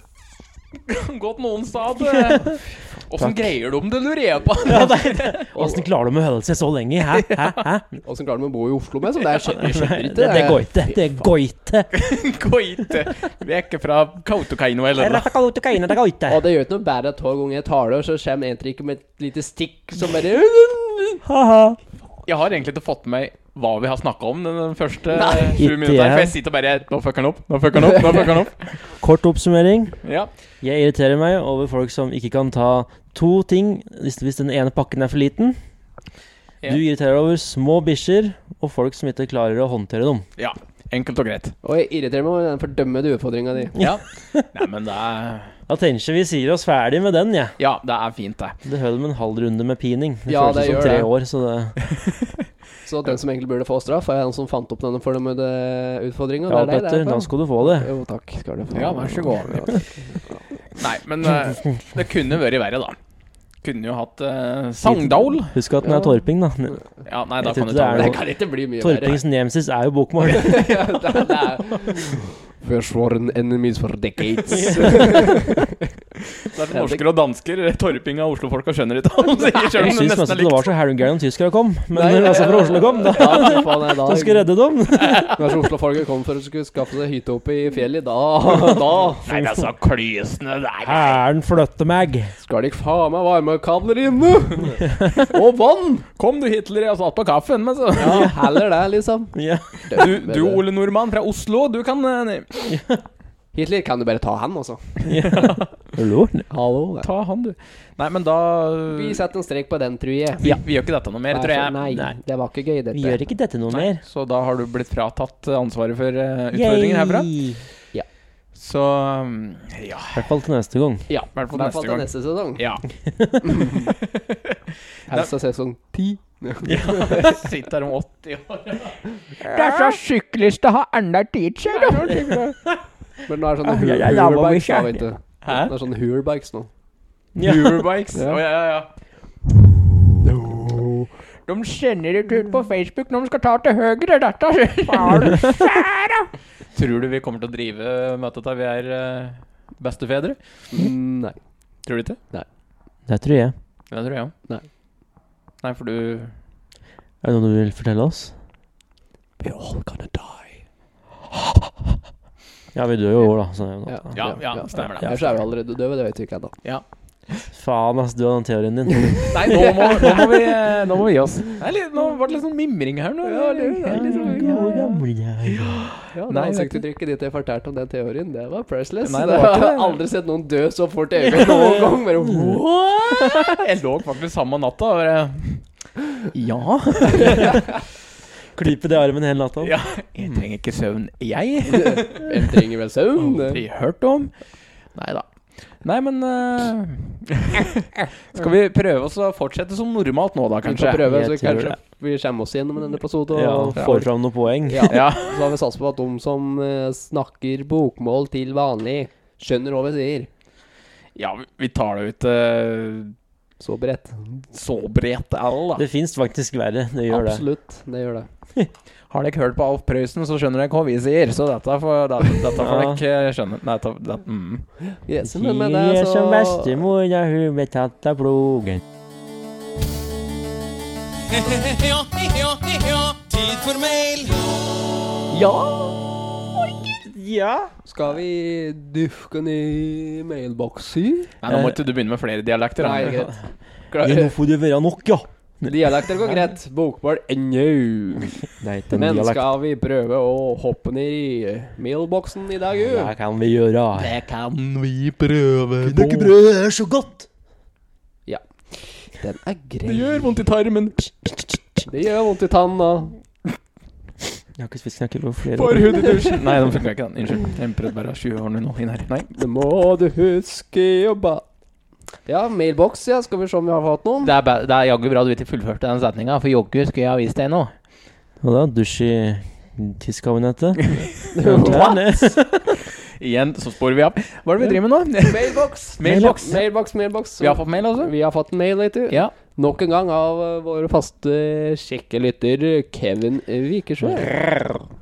[SPEAKER 2] Godt noen sa det. Åssen greier du om det, lurer jeg på?
[SPEAKER 4] Åssen klarer du å holde seg så lenge? Hæ? Hæ? Hæ?
[SPEAKER 1] Åssen klarer de å bo i Oslo med? Så det er skjønner jeg skjønner
[SPEAKER 4] Det,
[SPEAKER 1] ikke.
[SPEAKER 4] det går ikke. Det går ikke.
[SPEAKER 2] Gå hit. Vekk fra Kautokeino eller noe.
[SPEAKER 4] Ratakautakaina, det går ikke.
[SPEAKER 1] Og det gjør ikke noe bedre at hver gang jeg tar det, så kommer en trikk med et lite stikk som bare
[SPEAKER 4] Ha-ha.
[SPEAKER 2] Jeg har egentlig ikke fått med meg hva vi har snakka om den første
[SPEAKER 4] Nei,
[SPEAKER 2] sju
[SPEAKER 4] ikke
[SPEAKER 2] minutter.
[SPEAKER 4] jeg.
[SPEAKER 2] For jeg sitter bare Nå fucker han opp, nå fucker han opp, nå fucker han opp.
[SPEAKER 4] Kort oppsummering.
[SPEAKER 2] Ja.
[SPEAKER 3] Jeg irriterer meg over folk som ikke kan ta to ting hvis, hvis den ene pakken er for liten.
[SPEAKER 2] Ja.
[SPEAKER 3] Du irriterer deg over små bikkjer og folk som ikke klarer å håndtere dem.
[SPEAKER 2] ja. Enkelt og greit.
[SPEAKER 1] Og jeg irriterer meg over den fordømmede utfordringa di.
[SPEAKER 2] Ja. Nei, men det er
[SPEAKER 3] Da tenker jeg vi sier oss ferdig med den, jeg.
[SPEAKER 2] Ja, det er fint, det.
[SPEAKER 3] Det holder med en halv runde med pining. Det
[SPEAKER 1] Ja,
[SPEAKER 3] føles
[SPEAKER 1] det
[SPEAKER 3] som
[SPEAKER 1] gjør
[SPEAKER 3] tre
[SPEAKER 1] det.
[SPEAKER 3] år, så det
[SPEAKER 1] Så den som egentlig burde få straff, er han som fant opp denne fordømmede utfordringa.
[SPEAKER 3] Ja, Petter, da skal du få det.
[SPEAKER 1] Jo, takk skal du få.
[SPEAKER 2] Ja, vær så god. Nei, men eh, det kunne vært verre, da. Kunne jo hatt eh, Sogndal.
[SPEAKER 3] Husk at den
[SPEAKER 1] Ja.
[SPEAKER 3] er Torping, da.
[SPEAKER 2] Ja, nei,
[SPEAKER 3] Jeg
[SPEAKER 2] da kan
[SPEAKER 3] tror det
[SPEAKER 2] du ta
[SPEAKER 3] er
[SPEAKER 1] Det
[SPEAKER 2] det.
[SPEAKER 3] noe-
[SPEAKER 1] kan ikke bli mye verre.
[SPEAKER 3] Torpings nemesis er jo bokmål.
[SPEAKER 1] Ja, det- det er- First warn enemies for decades.
[SPEAKER 2] Det er for norsker og dansker. eh, Torping av oslofolka skjønner ikke hva de sier sjøl,
[SPEAKER 3] Jeg
[SPEAKER 2] men
[SPEAKER 3] syns
[SPEAKER 2] nesten
[SPEAKER 3] nesten
[SPEAKER 2] er
[SPEAKER 3] ikke det
[SPEAKER 2] likt.
[SPEAKER 3] var så halmgæren om tyskere kom, men
[SPEAKER 1] Nei,
[SPEAKER 3] når altså fra Oslo kom, da
[SPEAKER 1] Ja, fy faen, nei, da
[SPEAKER 3] som skulle redde dem.
[SPEAKER 1] Kanskje Oslo-folket kom for å skulle skaffe seg hytte oppe i fjellet. Da, da
[SPEAKER 2] Nei, det er så klysende. Nei,
[SPEAKER 4] Hæren flytter meg.
[SPEAKER 1] skal de faen meg varmekabler inne! Og vann!
[SPEAKER 2] Kom du, Hitler, jeg satt på kaffen, men så
[SPEAKER 1] Ja, heller det, liksom. eh,
[SPEAKER 3] Ja.
[SPEAKER 2] du, du, Ole Nordmann fra Oslo, du kan eh,
[SPEAKER 1] Hitler kan du bare ta han, altså.
[SPEAKER 3] Hallo?
[SPEAKER 1] Hallo.
[SPEAKER 2] ta han, du. Nei, men da eh,
[SPEAKER 1] Vi
[SPEAKER 2] Vi,
[SPEAKER 1] setter en strek på den, tror jeg.
[SPEAKER 2] vi gjør ikke dette noe mer, tror jeg.
[SPEAKER 1] Nei,
[SPEAKER 3] Nei.
[SPEAKER 1] det var ikke gøy, dette.
[SPEAKER 3] Vi gjør ikke dette noe mer.
[SPEAKER 2] Så da har du blitt fratatt eh, ansvaret for eh, utfordringen herfra.
[SPEAKER 3] Yay.
[SPEAKER 2] Så um, ja.
[SPEAKER 3] I hvert fall til neste gang.
[SPEAKER 1] Ja,
[SPEAKER 2] I
[SPEAKER 1] i
[SPEAKER 2] hvert fall
[SPEAKER 1] hvert fall
[SPEAKER 2] neste
[SPEAKER 1] til
[SPEAKER 2] gang.
[SPEAKER 1] neste sesong.
[SPEAKER 2] Ja.
[SPEAKER 1] Helst av sesong ti.
[SPEAKER 2] Sitter her om 80 år. Det er så syklister har andre teacher.
[SPEAKER 1] Men nå er det sånne
[SPEAKER 4] Ja,
[SPEAKER 1] hul-
[SPEAKER 4] ja, ja, hva
[SPEAKER 1] hulbikes, da,
[SPEAKER 4] vi kjører.
[SPEAKER 1] vet du.
[SPEAKER 2] Hæ?
[SPEAKER 1] Det er sånne hulbikes nå.
[SPEAKER 2] Eurobikes. Å,
[SPEAKER 1] Ja.
[SPEAKER 2] ja, ja, ja. De sender det ut på Facebook når de skal ta til høyre. Dette Tror du vi kommer til å drive møtet der vi er eh, bestefedre?
[SPEAKER 1] Mm, Nei.
[SPEAKER 2] Tror du ikke?
[SPEAKER 3] Det tror jeg.
[SPEAKER 2] Det tror jeg òg.
[SPEAKER 1] Nei.
[SPEAKER 2] Nei, for du
[SPEAKER 3] Er det noe du vil fortelle oss?
[SPEAKER 1] We're all gonna die.
[SPEAKER 3] Ja, vi dør jo i år, da. Så,
[SPEAKER 1] Ja,
[SPEAKER 2] Ja, ja, stemmer det.
[SPEAKER 1] Ellers er vi allerede døde, det vet vi ikke ennå.
[SPEAKER 3] Faen, ass, du og den teorien din.
[SPEAKER 2] Nei, nå må, nå må, vi, eh, nå må vi gi oss. Nei, litt, nå var det litt sånn mimring her nå.
[SPEAKER 1] Ja, det- det er litt sånn- Ja, det
[SPEAKER 2] Nei, vet du.
[SPEAKER 1] ansiktsuttrykket ditt jeg fortalte om den teorien, det var priceless.
[SPEAKER 2] Nei, det
[SPEAKER 1] det
[SPEAKER 2] var
[SPEAKER 1] har
[SPEAKER 2] ikke
[SPEAKER 1] jeg
[SPEAKER 2] det.
[SPEAKER 1] aldri sett noen dø så fort i øynene noen gang. Bare, wow.
[SPEAKER 2] Jeg lå faktisk samme natta. og jeg- Ja.
[SPEAKER 3] Klype det i armen hele natta.
[SPEAKER 2] ja. Jeg trenger ikke søvn, jeg.
[SPEAKER 1] Hvem trenger vel søvn?
[SPEAKER 2] Aldri hørt om. Nei da. Nei, men eh, Skal vi prøve oss å fortsette som normalt nå, da,
[SPEAKER 1] Vi får
[SPEAKER 2] kanskje?
[SPEAKER 1] prøve,
[SPEAKER 3] Jeg
[SPEAKER 1] så
[SPEAKER 3] tror
[SPEAKER 1] kanskje vi kommer oss gjennom denne episoden.
[SPEAKER 3] Ja,
[SPEAKER 1] Og
[SPEAKER 3] får fram noen poeng.
[SPEAKER 1] Ja.
[SPEAKER 2] Ja.
[SPEAKER 1] Så har vi satset på at de som eh, snakker bokmål til vanlig, skjønner hva vi sier.
[SPEAKER 2] ja, vi- vi tar det ut eh,
[SPEAKER 1] Så bredt.
[SPEAKER 2] så bredt all, da.
[SPEAKER 3] Det fins faktisk verre. Det gjør det.
[SPEAKER 1] Absolutt. Det gjør det.
[SPEAKER 2] Har dere ikke hørt på Alf Prøysen, så skjønner dere hva vi sier. Så dette får, da, dette får
[SPEAKER 3] Ja.
[SPEAKER 2] dere skjønne. Nei, ta- da- mm.
[SPEAKER 1] Yes, men med det, altså-
[SPEAKER 3] Vi er
[SPEAKER 1] så-
[SPEAKER 3] som bestemor, ja, hun ble tatt av plogen.
[SPEAKER 5] Ja, ja, ja, tid for mail.
[SPEAKER 3] Ja.
[SPEAKER 1] Skal vi dufke ned i mailbokser?
[SPEAKER 2] Nei, nå må ikke du begynne med flere dialekter. da.
[SPEAKER 1] Nei, greit.
[SPEAKER 3] ja. Nå får det være nok, ja.
[SPEAKER 1] Dialekter går greit. Bokmål ennå.
[SPEAKER 3] Det er ikke en
[SPEAKER 1] Men
[SPEAKER 3] dialekt.
[SPEAKER 1] skal vi prøve å hoppe ned i mailboksen i dag, jo?
[SPEAKER 3] Det kan vi gjøre.
[SPEAKER 1] kan
[SPEAKER 2] vi prøver
[SPEAKER 3] Knekkebrød er så godt.
[SPEAKER 1] Den er grei.
[SPEAKER 2] Det gjør vondt i tarmen.
[SPEAKER 1] Det gjør vondt i tanna.
[SPEAKER 3] Jeg har ikke spist knekkebrød på flere
[SPEAKER 2] For
[SPEAKER 3] år.
[SPEAKER 2] hud i dusjen. Nei, nå fikk jeg ikke den. Unnskyld. Jeg prøvde bare å tjuvordne noe inn her. Nei.
[SPEAKER 1] Det må du huske å ba... Ja, mailboks, ja. Skal vi se om vi har fått noen?
[SPEAKER 2] Det er, ba- det er jaggu bra du ikke fullførte den setninga, for jaggu skulle jeg ha vist deg noe.
[SPEAKER 3] Og da dusj i tisskabinettet.
[SPEAKER 2] Igjen så sporer vi opp. Hva er det vi driver med nå?
[SPEAKER 1] Mailboks!
[SPEAKER 2] Mailboks.
[SPEAKER 1] Mailboks, mailboks.
[SPEAKER 2] Vi har fått mail, altså?
[SPEAKER 1] Vi har fått en mail, vet du.
[SPEAKER 2] Ja.
[SPEAKER 1] Nok en gang av eh, våre faste kjekke lytter, Kevin Vikersjø. Han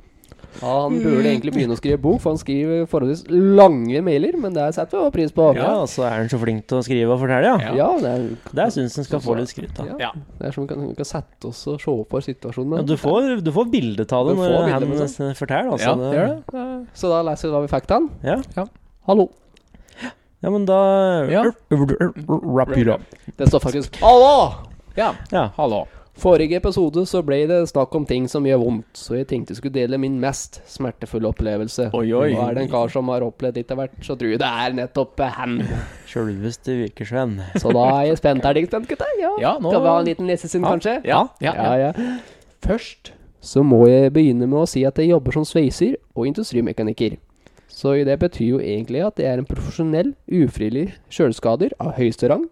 [SPEAKER 2] Mm.
[SPEAKER 1] burde egentlig begynne å skrive bok, for han skriver forholdsvis lange mailer, men det setter vi jo pris på.
[SPEAKER 3] Ja, og så er han så flink til å skrive og fortelle, ja.
[SPEAKER 1] Ja, det er,
[SPEAKER 3] Der syns han skal få litt skryt, da.
[SPEAKER 1] ja.
[SPEAKER 2] Ja.
[SPEAKER 1] det er som vi kan, vi kan sette oss og se på situasjonen.
[SPEAKER 3] Ja, du får, du får bildet av det
[SPEAKER 1] Du
[SPEAKER 3] når
[SPEAKER 1] får bildet,
[SPEAKER 3] han
[SPEAKER 1] men
[SPEAKER 3] s- forteller, altså.
[SPEAKER 2] Ja,
[SPEAKER 3] det,
[SPEAKER 2] gjør
[SPEAKER 1] Så da leser vi hva vi fikk til han.
[SPEAKER 3] Ja.
[SPEAKER 1] Hallo.
[SPEAKER 3] ja, men da
[SPEAKER 2] Ja.
[SPEAKER 3] Wrap it up.
[SPEAKER 1] Det står faktisk Hallo!
[SPEAKER 2] Ja,
[SPEAKER 3] Ja.
[SPEAKER 2] hallo.
[SPEAKER 1] Forrige episode så ble det snakk om ting som gjør vondt, så jeg tenkte jeg skulle dele min mest smertefulle opplevelse.
[SPEAKER 2] Oi, oi.
[SPEAKER 1] Og er det en kar som har opplevd litt av hvert, så tror jeg det er nettopp eh, han.
[SPEAKER 3] Sjølveste Vikersvenn.
[SPEAKER 1] Så da er jeg spent. Er dere spent, gutta? Ja.
[SPEAKER 2] Ja, nå
[SPEAKER 1] Skal vi ha en liten lesesinn, kanskje?
[SPEAKER 2] Ja. ja.
[SPEAKER 1] ja, ja. Først så må jeg begynne med å si at jeg jobber som sveiser og industrimekaniker. Så det betyr jo egentlig at jeg er en profesjonell, ufrivillig kjøleskader av høyeste rang.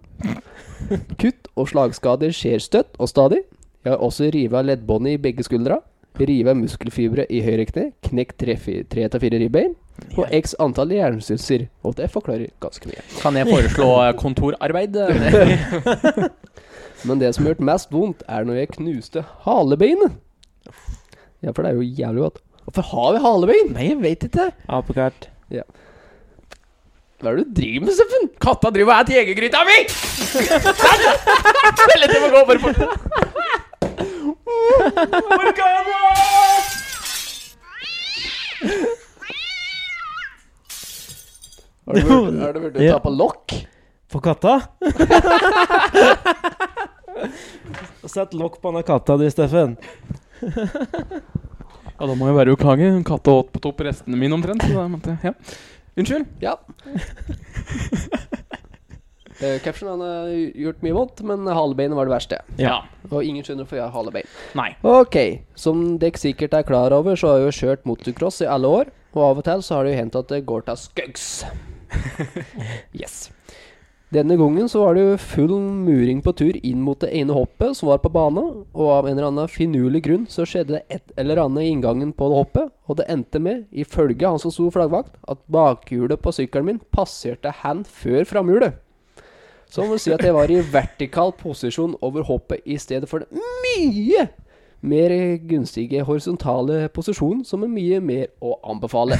[SPEAKER 1] Kutt og slagskader skjer støtt og stadig. Jeg har også rivet av leddbåndet i begge skuldra. Rivet av muskelfibre i høyre kne. Knekt tre fi- tre til fire ribbein. Og x antall hjernesvulster. Og det forklarer ganske mye.
[SPEAKER 2] Kan jeg foreslå eh, kontorarbeid?
[SPEAKER 1] Men det som har gjort mest vondt, er når jeg knuste halebeinet. Ja, for det er jo jævlig godt. Hvorfor har vi halebein?
[SPEAKER 2] Nei, jeg veit ikke.
[SPEAKER 3] Apekatt.
[SPEAKER 1] Hva er det du driver med, Steffen?
[SPEAKER 2] Katta driver og spiser jegergryta mi! Vent litt, jeg må gå bare bort.
[SPEAKER 1] Har du vært- har du vært ute og
[SPEAKER 3] Ja.
[SPEAKER 1] tappa lokk?
[SPEAKER 3] På katta? Sett lokk på denne katta di, Steffen.
[SPEAKER 2] Ja, da må jeg bare beklage. Katta åt på topp restene mine omtrent. Så da måtte jeg ja. Unnskyld.
[SPEAKER 1] Ja. Eh, Caption han har gjort mye vondt, men halebeinet var det verste.
[SPEAKER 2] Ja.
[SPEAKER 1] Og ingen skjønner hvorfor jeg har halebein.
[SPEAKER 2] Nei.
[SPEAKER 1] Ok, som dere sikkert er klar over, så har jeg jo kjørt motocross i alle år, og av og til så har det jo hendt at det går til skøggs. Yes. Denne gangen så var det jo full muring på tur inn mot det ene hoppet som var på bane, og av en eller annen finurlig grunn så skjedde det et eller annet i inngangen på det hoppet, og det endte med, ifølge han som sto flaggvakt, at bakhjulet på sykkelen min passerte han før framhjulet. Så må du si at jeg var i vertikal posisjon over hoppet i stedet for det mye mer gunstige horisontale posisjonen, som er mye mer å anbefale.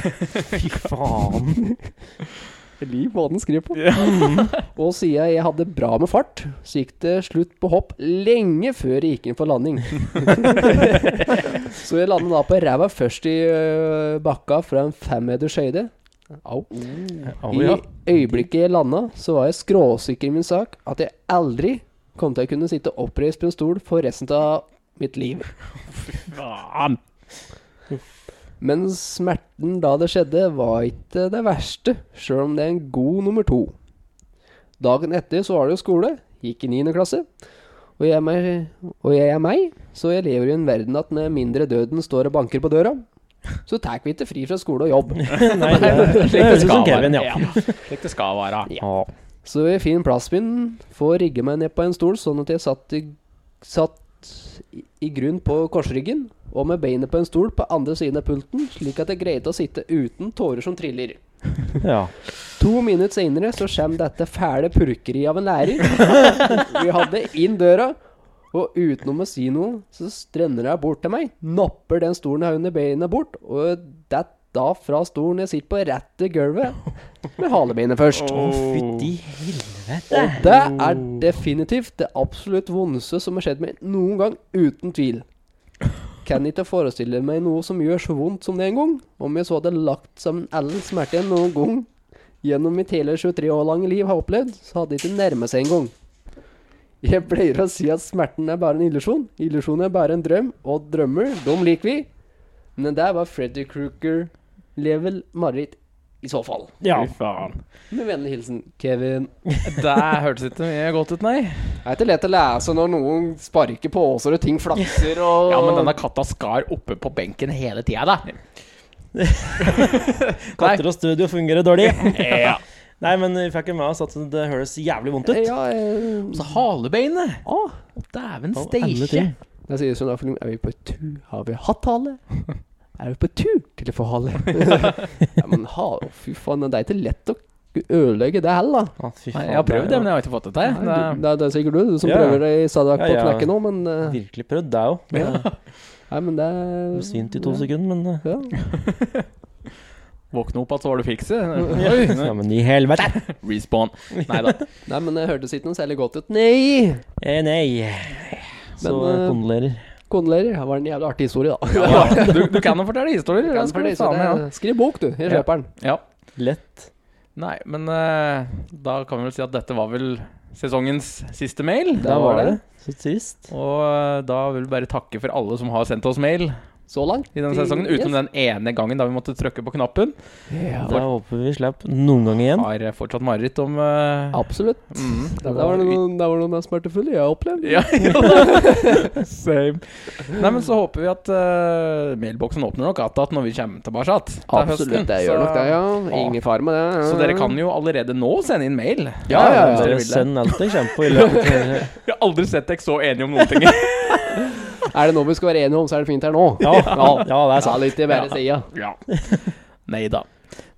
[SPEAKER 3] Faen.
[SPEAKER 1] Liv hva den skriver på. og siden jeg hadde bra med fart, så gikk det slutt på hopp lenge før jeg gikk inn for landing. så jeg landet da på ræva først i øh, bakka fra en femmeters høyde. Au.
[SPEAKER 3] Å
[SPEAKER 1] I
[SPEAKER 3] ja.
[SPEAKER 1] øyeblikket jeg landa, så var jeg skråsikker i min sak at jeg aldri kom til å kunne sitte oppreist på en stol for resten av mitt liv.
[SPEAKER 2] Faen.
[SPEAKER 1] Men smerten da det skjedde, var ikke det verste, sjøl om det er en god nummer to. Dagen etter så var det jo skole, gikk i 9. klasse. Og jeg, er meg, og jeg er meg, så jeg lever i en verden at med mindre døden står og banker på døra, så tar vi ikke fri fra skole og jobb.
[SPEAKER 3] Nei, det, det høres ut som Kevin, ja.
[SPEAKER 2] Slik det skal være.
[SPEAKER 3] Ja.
[SPEAKER 1] Så jeg finner plassen min, får rigge meg ned på en stol, sånn at jeg satt i, satt i- i grunn på korsryggen, og med beinet på en stol på andre siden av pulten, slik at jeg greide å sitte uten tårer som triller.
[SPEAKER 3] ja.
[SPEAKER 1] To minutter senere så kommer dette fæle purkeriet av en lærer. Vi hadde inn døra, og utenom å si noe, så strenner hun bort til meg, napper den stolen jeg har under beinet bort, og det da fra stolen jeg sitter på, rett til gulvet, med halebeinet først.
[SPEAKER 3] Fytti helvete.
[SPEAKER 1] Og det er definitivt det absolutt vondeste som har skjedd meg noen gang, uten tvil. Kan ikke forestille meg noe som gjør så vondt som det en gang, om jeg så hadde lagt sammen all smerte jeg noen gang gjennom mitt hele 23 år lange liv har opplevd, så hadde det ikke nærmet seg engang. Jeg pleier å si at smerten er bare en illusjon. Illusjonen er bare en drøm, og drømmer, dem liker vi. Men det var Freddy Krueger level mareritt, i så fall.
[SPEAKER 3] Ja.
[SPEAKER 2] Fy faen.
[SPEAKER 1] Med vennlig hilsen Kevin.
[SPEAKER 2] Det hørtes ikke mye godt ut, nei.
[SPEAKER 1] Det er ikke lett å lese når noen sparker på åser og ting flakser og
[SPEAKER 2] Ja, men denne katta skar oppe på benken hele tida, da.
[SPEAKER 3] Katter og studio fungerer dårlig.
[SPEAKER 2] Ja.
[SPEAKER 3] Nei, men vi fikk jo med oss at det høres jævlig vondt ut.
[SPEAKER 1] Ja, eh,
[SPEAKER 2] Så halebeinet. Å, dæven
[SPEAKER 3] Alle
[SPEAKER 2] steike.
[SPEAKER 3] ting.
[SPEAKER 1] Da sier sånn da, for Er vi på tur? Har vi hatt hale? Er vi på tur til å få hale? ja, men ha, å, fy faen, det er ikke lett å ødelegge det heller, da.
[SPEAKER 3] Å, fy
[SPEAKER 2] Nei,
[SPEAKER 3] faen,
[SPEAKER 2] jeg har prøvd
[SPEAKER 3] det er
[SPEAKER 2] det, men jeg har ikke fått det til.
[SPEAKER 1] Nei,
[SPEAKER 2] Det-
[SPEAKER 1] du, det, er, det er sikkert du, du som
[SPEAKER 3] Ja, ja.
[SPEAKER 1] prøver deg i Sadak
[SPEAKER 3] Ja,
[SPEAKER 1] på
[SPEAKER 3] ja.
[SPEAKER 1] knekken nå, men eh,
[SPEAKER 3] Virkelig prøvd, det er jo. Det
[SPEAKER 1] Nei, men det
[SPEAKER 3] er
[SPEAKER 1] er
[SPEAKER 3] Svint i to sekunder, men eh,
[SPEAKER 1] Ja.
[SPEAKER 2] Våkne opp at så var du fikse.
[SPEAKER 3] Ja, men i helvete!
[SPEAKER 2] Respawn. Nei da.
[SPEAKER 1] Nei, men det hørtes ikke noe særlig godt ut. Nei!
[SPEAKER 3] Eh, nei. Så
[SPEAKER 1] Men, eh,
[SPEAKER 3] kondolerer.
[SPEAKER 1] Kondelerer. Det var en jævlig artig historie, da.
[SPEAKER 2] Du, du kan jo fortelle historier.
[SPEAKER 1] Kan
[SPEAKER 2] det skal
[SPEAKER 1] for
[SPEAKER 2] du
[SPEAKER 1] det, så
[SPEAKER 2] faen meg ha.
[SPEAKER 1] det- Skriv bok, du. Jeg
[SPEAKER 2] Ja.
[SPEAKER 1] kjøper den.
[SPEAKER 2] Ja.
[SPEAKER 3] Lett.
[SPEAKER 2] Nei, men eh, da kan vi vel si at dette var vel sesongens siste mail.
[SPEAKER 1] Da
[SPEAKER 3] Da
[SPEAKER 1] var
[SPEAKER 3] var
[SPEAKER 1] det.
[SPEAKER 3] det. Så trist.
[SPEAKER 2] Og eh, da vil vi bare takke for alle som har sendt oss mail
[SPEAKER 1] Så langt.
[SPEAKER 2] i denne sesongen. Utenom den ene gangen da vi måtte trykke på knappen.
[SPEAKER 1] Ja,
[SPEAKER 3] Da håper vi slipper noen gang igjen.
[SPEAKER 2] Har eh, fortsatt mareritt om eh,
[SPEAKER 1] Absolutt.
[SPEAKER 2] mm,
[SPEAKER 1] Det var noen, det var noen av smertefulle jeg har opplevd.
[SPEAKER 2] Ja, ja da. Same. Nei, men så håper vi at eh, mailboksen åpner nok att att når vi kommer tilbake att. til høsten.
[SPEAKER 1] Absolutt. Jeg gjør
[SPEAKER 2] Så-
[SPEAKER 1] nok det, ja. Ingen fare med det. Ja.
[SPEAKER 2] Så dere kan jo allerede nå sende inn mail.
[SPEAKER 1] Ja, ja, ja.
[SPEAKER 2] Hvis dere
[SPEAKER 3] Dere
[SPEAKER 2] vil det.
[SPEAKER 3] send alt dere kommer på i løpet av
[SPEAKER 2] Jeg har aldri sett dere så enige om noen ting.
[SPEAKER 1] Er det noe vi skal være enige om, så er det fint her nå.
[SPEAKER 3] Ja, ja, det er
[SPEAKER 1] Ta
[SPEAKER 3] sant.
[SPEAKER 1] litt i bare
[SPEAKER 2] Ja.
[SPEAKER 1] sida.
[SPEAKER 2] Ja. Nei da.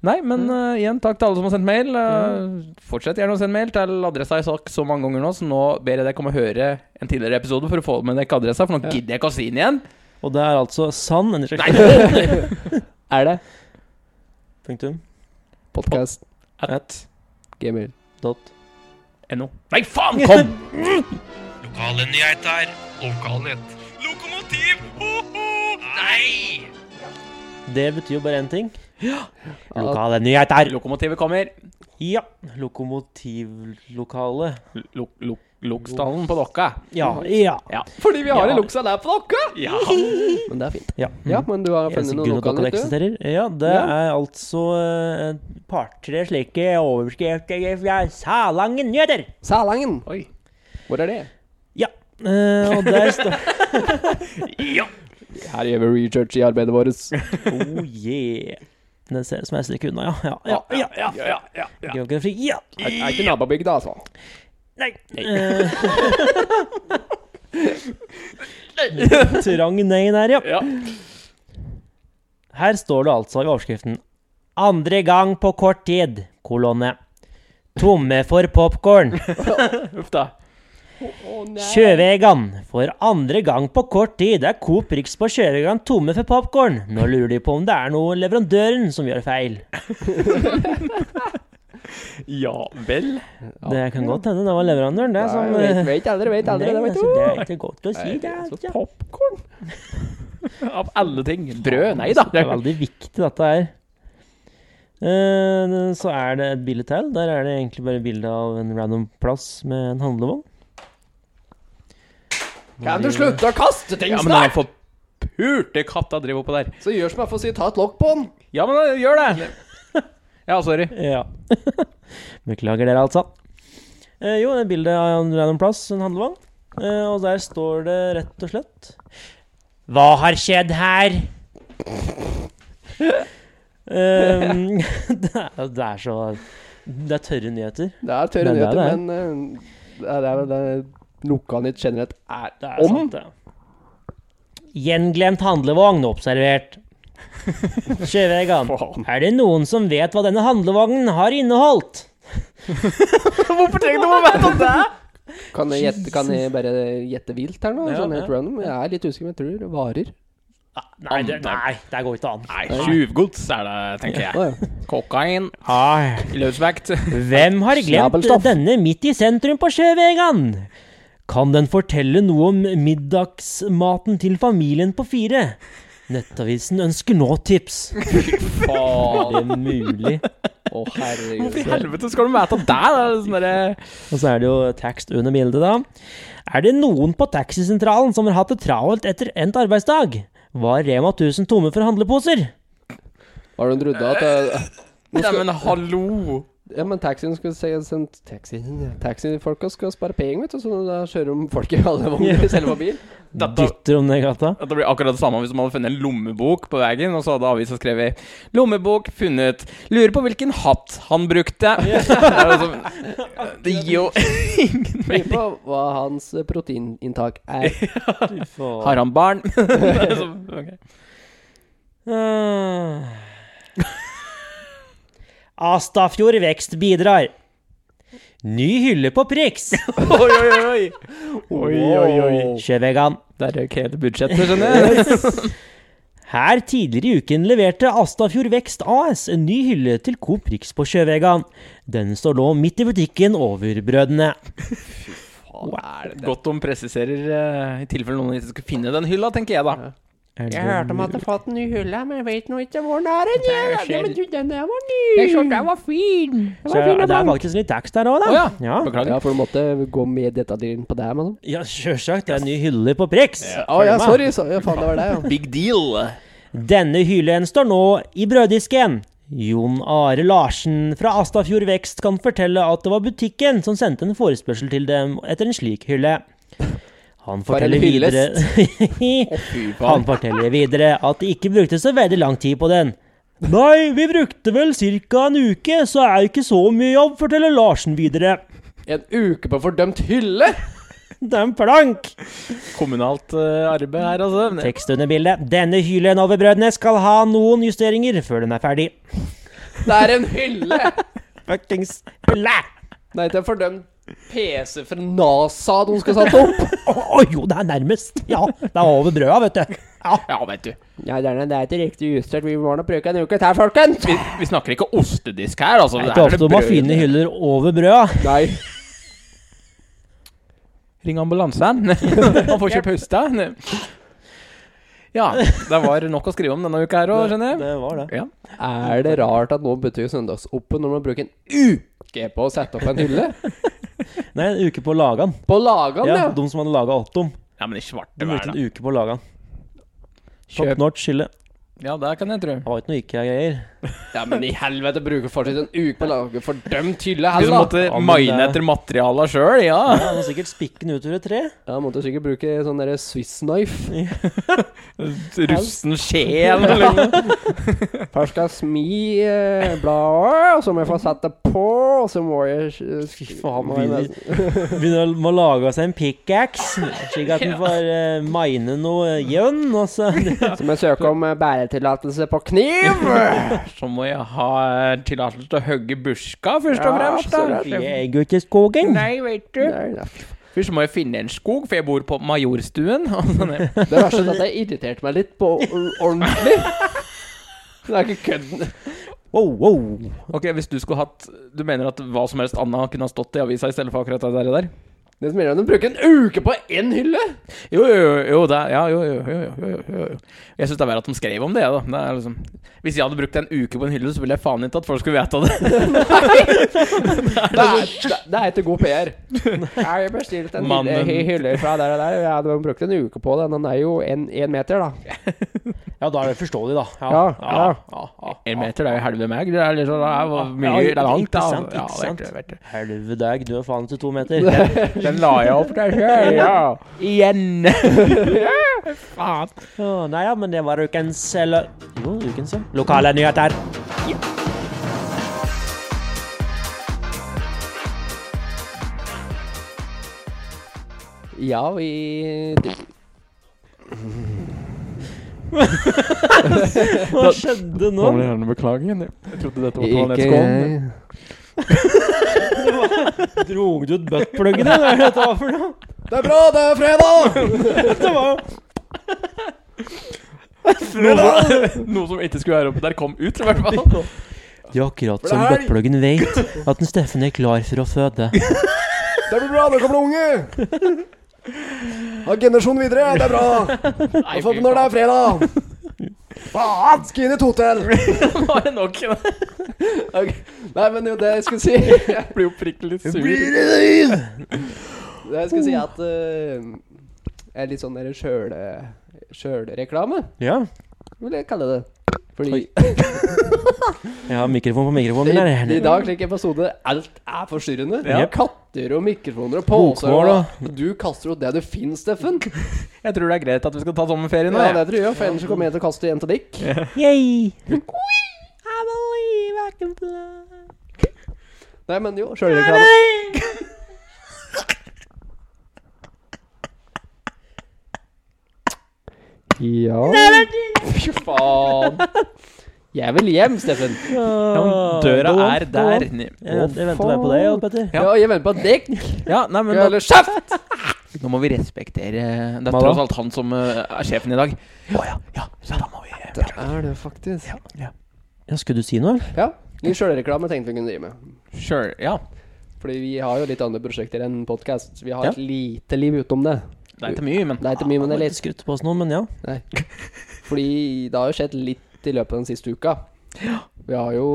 [SPEAKER 2] Nei,
[SPEAKER 1] Mm.
[SPEAKER 2] men eh, igjen takk til alle som har sendt mail. Eh, Fortsett gjerne å sende mail til adressa jeg har sagt så mange ganger nå, så nå ber jeg dere om å høre en tidligere episode for å få med dere adressa, for nå gidder jeg ikke å si den igjen.
[SPEAKER 3] Og det er altså sann en slags-
[SPEAKER 1] Er det
[SPEAKER 3] Punktum.
[SPEAKER 1] podcast
[SPEAKER 2] At
[SPEAKER 1] gamer?
[SPEAKER 3] Dot.
[SPEAKER 2] NO. Nei, faen, kom!
[SPEAKER 4] Lokale nyheter. Lokalnytt. Lokomotiv! Nei!
[SPEAKER 3] Det betyr jo bare én ting.
[SPEAKER 4] Lokale nyheter.
[SPEAKER 2] Lokomotivet kommer.
[SPEAKER 3] Ja. Lokomotivlokale.
[SPEAKER 2] Lo- lo- Lokstallen på dokka.
[SPEAKER 3] Ja.
[SPEAKER 4] Ja.
[SPEAKER 2] Ja.
[SPEAKER 1] Fordi vi
[SPEAKER 3] har en
[SPEAKER 1] luksa der på Mm. dere!
[SPEAKER 2] ja.
[SPEAKER 1] Men det er fint.
[SPEAKER 3] Ja. Mm.
[SPEAKER 1] Ja, men du har
[SPEAKER 3] Jeg er
[SPEAKER 1] funnet
[SPEAKER 3] så
[SPEAKER 1] noe
[SPEAKER 3] glad at dere
[SPEAKER 1] lokalt, du?
[SPEAKER 3] eksisterer. Ja, det
[SPEAKER 1] Ja.
[SPEAKER 3] er altså eh, et par-tre slike overskrifter fra Salangen nyheter.
[SPEAKER 1] Salangen.
[SPEAKER 2] Oi.
[SPEAKER 1] Hvor er det?
[SPEAKER 3] Ja. eh, og der står
[SPEAKER 1] Her gjør vi research i arbeidet vårt.
[SPEAKER 3] Oh yeah. Den ser ut som jeg stikker unna, ja. Ja, ja, ja. ja,
[SPEAKER 2] Ja, ja, ja.
[SPEAKER 3] Geografi, ja.
[SPEAKER 1] Er er ikke nabobygda, altså.
[SPEAKER 3] Nei. Eh, Trang nei der, ja.
[SPEAKER 2] Ja.
[SPEAKER 3] Her står det altså i overskriften Andre gang på kort tid, kolonne. Tomme for popkorn.
[SPEAKER 2] Uff da.
[SPEAKER 3] Sjøvegan. For andre gang på kort tid er Coop Rix på Sjøvegan tomme for popkorn. Nå lurer de på om det er noe leverandøren som gjør feil.
[SPEAKER 2] Ja vel.
[SPEAKER 3] Det kan godt hende det var leverandøren, det, som
[SPEAKER 1] Vet,
[SPEAKER 3] eh,
[SPEAKER 1] vet aldri, vet aldri.
[SPEAKER 3] Nei,
[SPEAKER 1] det vet
[SPEAKER 3] altså,
[SPEAKER 1] du.
[SPEAKER 3] det er ikke godt å si, det.
[SPEAKER 1] Så
[SPEAKER 3] Altså.
[SPEAKER 1] popcorn.
[SPEAKER 2] Av alle ting. Brød. Nei da.
[SPEAKER 3] Det er veldig viktig, dette her. Eh, Så er det et bilde til. Der er det egentlig bare bilde av en random plass med en handlevogn.
[SPEAKER 1] Kan du slutte å kaste ting
[SPEAKER 2] Ja, men den
[SPEAKER 1] snart?
[SPEAKER 2] har fått pulte katta driver oppå der.
[SPEAKER 1] Så gjør som jeg får si, ta et lokk på den.
[SPEAKER 2] Ja, men eh, gjør det! Ja, sorry.
[SPEAKER 3] Ja. Beklager dere, altså. Eh, jo, det er bilde av en random plass, en handlevogn. Eh, og der står det rett og slett Hva har skjedd her? Ehm, det, er, det er så Det er tørre nyheter.
[SPEAKER 1] Det er tørre
[SPEAKER 3] Men det er
[SPEAKER 1] nyheter,
[SPEAKER 3] det.
[SPEAKER 1] men eh, det er- det er vel det Lukka nytt generelt er
[SPEAKER 3] Det er
[SPEAKER 1] om.
[SPEAKER 3] sant, det. Gjenglemt handlevogn observert. Sjøvegan,
[SPEAKER 1] Faen.
[SPEAKER 3] er det noen som vet hva denne handlevognen har inneholdt?
[SPEAKER 2] Hvorfor trenger du å vite om det?!
[SPEAKER 1] Kan jeg, gjette, kan jeg bare gjette vilt her nå?
[SPEAKER 2] Ja,
[SPEAKER 1] sånn
[SPEAKER 2] ja.
[SPEAKER 1] helt random. Jeg er litt usikker, men jeg tror det varer.
[SPEAKER 3] Nei, det, nei, det går ikke an.
[SPEAKER 2] Nei, tjuvgods er det, tenker jeg.
[SPEAKER 1] Å, ja.
[SPEAKER 2] Kokain,
[SPEAKER 3] Ai.
[SPEAKER 2] løsvekt
[SPEAKER 3] Hvem har glemt
[SPEAKER 1] Snabelstoff.
[SPEAKER 3] denne midt i sentrum på Sjøvegan? Kan den fortelle noe om middagsmaten til familien på fire? Nettavisen ønsker nå tips. Er
[SPEAKER 2] Faen.
[SPEAKER 3] det mulig?
[SPEAKER 1] Å, herregud.
[SPEAKER 2] Hvorfor i helvete skal du vite om det?! Det er sånn derre
[SPEAKER 3] Og så er det jo tekst under bildet, da. Er det noen på taxisentralen som har hatt det travelt etter endt arbeidsdag? Var Rema 1000 tomme for handleposer?
[SPEAKER 1] Har du en drudde at eh, nå skal-
[SPEAKER 2] Neimen, hallo!
[SPEAKER 1] Ja, men taxien skal se sendt taxi, Taxifolka skal spare penger, vet du, så da kjører de folk i alle vogner i selve bil.
[SPEAKER 2] Dette,
[SPEAKER 3] Dytter om det i gata.
[SPEAKER 2] dette blir akkurat det samme hvis man hadde funnet en lommebok på veien, og så hadde avisa skrevet 'Lommebok funnet. Lurer på hvilken hatt han brukte'. Altså, det gir jo ingen
[SPEAKER 1] Lurer
[SPEAKER 2] mening.
[SPEAKER 1] på hva hans eh, proteininntak er.
[SPEAKER 2] Har han barn? Det er så- ok.
[SPEAKER 3] Ah. Astafjord Vekst bidrar. Ny hylle på Prix.
[SPEAKER 2] Oi, oi, oi. Oi, oi, oi.
[SPEAKER 3] Sjøvegan.
[SPEAKER 2] Der røk hele budsjettet, skjønner jeg.
[SPEAKER 3] Her tidligere i uken leverte Astafjord Vekst AS en ny hylle til Coop Prix på Sjøvegan. Den står nå midt i butikken over brødene.
[SPEAKER 2] Godt om presiserer, eh, i tilfelle noen ikke skulle finne den hylla, tenker jeg da.
[SPEAKER 3] Er det-
[SPEAKER 1] hadde fått en ny hylle, men jeg vet nå ikke hvor den er. Den,
[SPEAKER 2] er skjer-
[SPEAKER 1] men du, den der var ny. Jeg så den var fin.
[SPEAKER 3] Så er- det er faktisk litt tekst der òg, da.
[SPEAKER 2] Å ja.
[SPEAKER 3] ja.
[SPEAKER 1] Ja,
[SPEAKER 2] Beklager.
[SPEAKER 1] for du måtte gå med detaljene på det, mann.
[SPEAKER 3] Ja, sjølsagt. Det er en ny hylle på Prix.
[SPEAKER 1] Å ja, sorry. Så, ja, faen, det var deg, ja.
[SPEAKER 2] Big deal.
[SPEAKER 3] Denne hyllen står nå i brøddisken. Jon Are Larsen fra Astafjord Vekst kan fortelle at det var butikken som sendte en forespørsel til dem etter en slik hylle. Han
[SPEAKER 1] For en
[SPEAKER 3] forteller videre
[SPEAKER 2] Fy faen.
[SPEAKER 3] Han forteller videre at de ikke brukte så veldig lang tid på den. Nei, vi brukte vel ca. en uke, så er jo ikke så mye jobb, forteller Larsen videre.
[SPEAKER 1] En uke på fordømt hylle!
[SPEAKER 3] Det er en plank!
[SPEAKER 2] Kommunalt eh, arbeid her, altså. Men-
[SPEAKER 3] Tekst under bildet. Denne hyllen over brødene skal ha noen justeringer før den er ferdig.
[SPEAKER 1] Det er en hylle!
[SPEAKER 3] Fuckings hylle!
[SPEAKER 1] Nei, det er fordømt PC fra NASA de skal sette opp.
[SPEAKER 3] Å å, jo, det er nærmest. Ja, det er over brøda, vet du. Ja.
[SPEAKER 2] Ja, vet du.
[SPEAKER 1] Nei, det er, det er ikke riktig justert. Vi må nå bruke en uke til, folkens.
[SPEAKER 2] Vi, vi snakker ikke ostedisk her, altså.
[SPEAKER 3] Det er
[SPEAKER 2] Her
[SPEAKER 3] ikke ofte
[SPEAKER 2] det
[SPEAKER 3] man
[SPEAKER 2] brød.
[SPEAKER 3] finner hyller over brøda.
[SPEAKER 1] Nei.
[SPEAKER 2] Ring ambulansen. Han får ikke puste. Ja, det var nok å skrive om denne uka her òg, skjønner jeg.
[SPEAKER 3] var det.
[SPEAKER 2] Ja.
[SPEAKER 1] Er det rart at noen betyr søndagsoppe når man bruker en uke på å sette opp en hylle?
[SPEAKER 3] Nei, en uke på å lage den.
[SPEAKER 1] På
[SPEAKER 2] Sånn,
[SPEAKER 1] lagan,
[SPEAKER 3] Ja,
[SPEAKER 1] ja!
[SPEAKER 3] de som hadde laga Ottom.
[SPEAKER 2] ja, men i svarte
[SPEAKER 3] De
[SPEAKER 2] vær,
[SPEAKER 3] brukte
[SPEAKER 2] da.
[SPEAKER 3] en uke på å lage den. Top
[SPEAKER 2] Kjøp.
[SPEAKER 3] notch hylle.
[SPEAKER 2] Ja, det kan jeg tro.
[SPEAKER 3] Det var ikke noe IKEA-greier.
[SPEAKER 1] Ja, men i helvete, bruker fortsatt en uke på å lage fordømt hylle, altså.
[SPEAKER 2] Du som
[SPEAKER 1] hella!
[SPEAKER 2] måtte
[SPEAKER 3] Ja, men
[SPEAKER 2] mine
[SPEAKER 3] det-
[SPEAKER 2] etter materiala sjøl, ja.
[SPEAKER 3] Ja, de må sikkert spikke den ut over et tre.
[SPEAKER 1] Ja, måtte sikkert bruke sånn derre Swiss knife.
[SPEAKER 2] Russen liksom. skje eller noe.
[SPEAKER 1] Først skal jeg smi eh, bladet, og så må jeg få satt det på, og så må jeg Fy
[SPEAKER 3] faen, Begynner å- må lage seg en pickaxe, slik at den får eh, mine noe gjønn. Og så
[SPEAKER 1] Så må jeg søke om eh, bæretillatelse på kniv!
[SPEAKER 2] Så må jeg ha eh, tillatelse til å hogge buska, først og
[SPEAKER 1] Ja,
[SPEAKER 2] fremst. da.
[SPEAKER 1] absolutt.
[SPEAKER 3] Jeg er jo ikke i skogen.
[SPEAKER 2] Nei, vet du.
[SPEAKER 1] Nei, nei.
[SPEAKER 2] Først må jeg finne en skog, for jeg bor på Majorstuen. og sånn, ja.
[SPEAKER 1] Det verste er at jeg irriterte meg litt på ordentlig. Det er ikke kødd.
[SPEAKER 3] Wow, wow.
[SPEAKER 2] Ok, hvis du skulle hatt Du mener at hva som helst annet kunne ha stått i avisa i stedet for akkurat det der? der?
[SPEAKER 1] Det som gjelder, er å bruke en uke på én hylle!
[SPEAKER 2] Jo, jo, jo, jo, det er, ja, jo, jo, jo, jo, jo, jo, jo. Jeg syns det er verre at de skrev om det. da det er liksom, Hvis jeg hadde brukt en uke på en hylle, så ville jeg faen ikke at folk skulle vite det.
[SPEAKER 1] Det er, det, det er ikke god PR. Ja, Jeg bestilte en hylle,
[SPEAKER 2] Mannen.
[SPEAKER 1] hy- hylle fra der og der, og jeg hadde brukt en uke på den. Den er jo én meter, da.
[SPEAKER 3] Ja, da er det forståelig, da.
[SPEAKER 1] Ja, ja.
[SPEAKER 2] En meter det er jo halve meg. Det er liksom, det er jo mye det er langt, da.
[SPEAKER 3] Ikke sant,
[SPEAKER 2] Ja,
[SPEAKER 3] ikke
[SPEAKER 2] vet
[SPEAKER 3] sant.
[SPEAKER 2] du, vet du.
[SPEAKER 3] Helvede deg, du er faen ikke to meter.
[SPEAKER 2] Den la jeg opp der sjøl, ja. Igjen. Faen.
[SPEAKER 3] Å, nei, ja, men det var ukens eller Jo, ukens, ja. Lokale nyheter.
[SPEAKER 1] Ja, vi
[SPEAKER 3] Hva skjedde nå?
[SPEAKER 2] Kommer det gjerne beklage igjen, jeg. Jeg trodde dette var
[SPEAKER 1] Ikke
[SPEAKER 2] toalettskålen.
[SPEAKER 1] jeg.
[SPEAKER 3] Drog du ut buttpluggen, eller hva er dette for noe?
[SPEAKER 1] Det er bra, det er fredag!
[SPEAKER 3] Det var
[SPEAKER 2] Noe, noe som ikke skulle være oppe der, kom ut, i hvert fall.
[SPEAKER 3] Det er akkurat som buttpluggen vet at den Steffen er klar for å føde.
[SPEAKER 1] Det blir bra, det kommer unge! Ha generasjon videre, det er bra!
[SPEAKER 2] Nei,
[SPEAKER 1] Få når det er fredag! Faen! Skal inn i et hotell!
[SPEAKER 2] Nå er det nok. Jeg
[SPEAKER 1] Ok, Nei, men jo, det jeg skulle si
[SPEAKER 2] blir jo prikkelig litt sur.
[SPEAKER 1] Det jeg skulle si, er at eh, er litt sånn der sjøle- sjølreklame,
[SPEAKER 3] Ja.
[SPEAKER 1] vil jeg kalle det. Fordi
[SPEAKER 3] Jeg har mikrofon på mikrofonen min.
[SPEAKER 1] i, i
[SPEAKER 3] her.
[SPEAKER 1] dag, slik episode, alt er forstyrrende.
[SPEAKER 2] Ja.
[SPEAKER 1] Katter og mikrofoner og poser.
[SPEAKER 3] Bokmål,
[SPEAKER 1] Og, du kaster jo det du finner, Steffen.
[SPEAKER 2] Jeg tror det er greit at vi skal ta sommerferie nå.
[SPEAKER 1] Ja,
[SPEAKER 2] jeg.
[SPEAKER 1] det tror jeg, for ellers så kommer jeg til å kaste en til dikk.
[SPEAKER 3] Yay. I believe I can fly.
[SPEAKER 1] Nei, men jo, sjølreklame. Ja Fy faen. Jeg vil hjem, Steffen.
[SPEAKER 2] Ja, men døra er der.
[SPEAKER 3] Ja, jeg venter bare på deg, Jan Petter.
[SPEAKER 1] Ja, jeg venter på dekk.
[SPEAKER 2] Ja, nei, men da,
[SPEAKER 1] Eller kjeft!
[SPEAKER 2] nå må vi respektere Det er
[SPEAKER 3] Hva da?
[SPEAKER 2] tross alt han som eh, er sjefen i dag. Å ja. Ja, så da må vi eh,
[SPEAKER 1] Det er det faktisk.
[SPEAKER 3] Ja, skulle du si noe? eller?
[SPEAKER 1] Ja, litt sjølreklame tenkte vi kunne drive med.
[SPEAKER 2] Sure. Ja.
[SPEAKER 1] Fordi vi har jo litt andre prosjekter enn podkast. Vi har
[SPEAKER 3] Ja.
[SPEAKER 1] et lite liv utenom det.
[SPEAKER 2] Det er ikke mye, men
[SPEAKER 1] Det er ikke mye, men det er litt.
[SPEAKER 3] Skrytte på oss noen, men ja.
[SPEAKER 1] Fordi det har jo skjedd litt i løpet av den siste uka. Vi har jo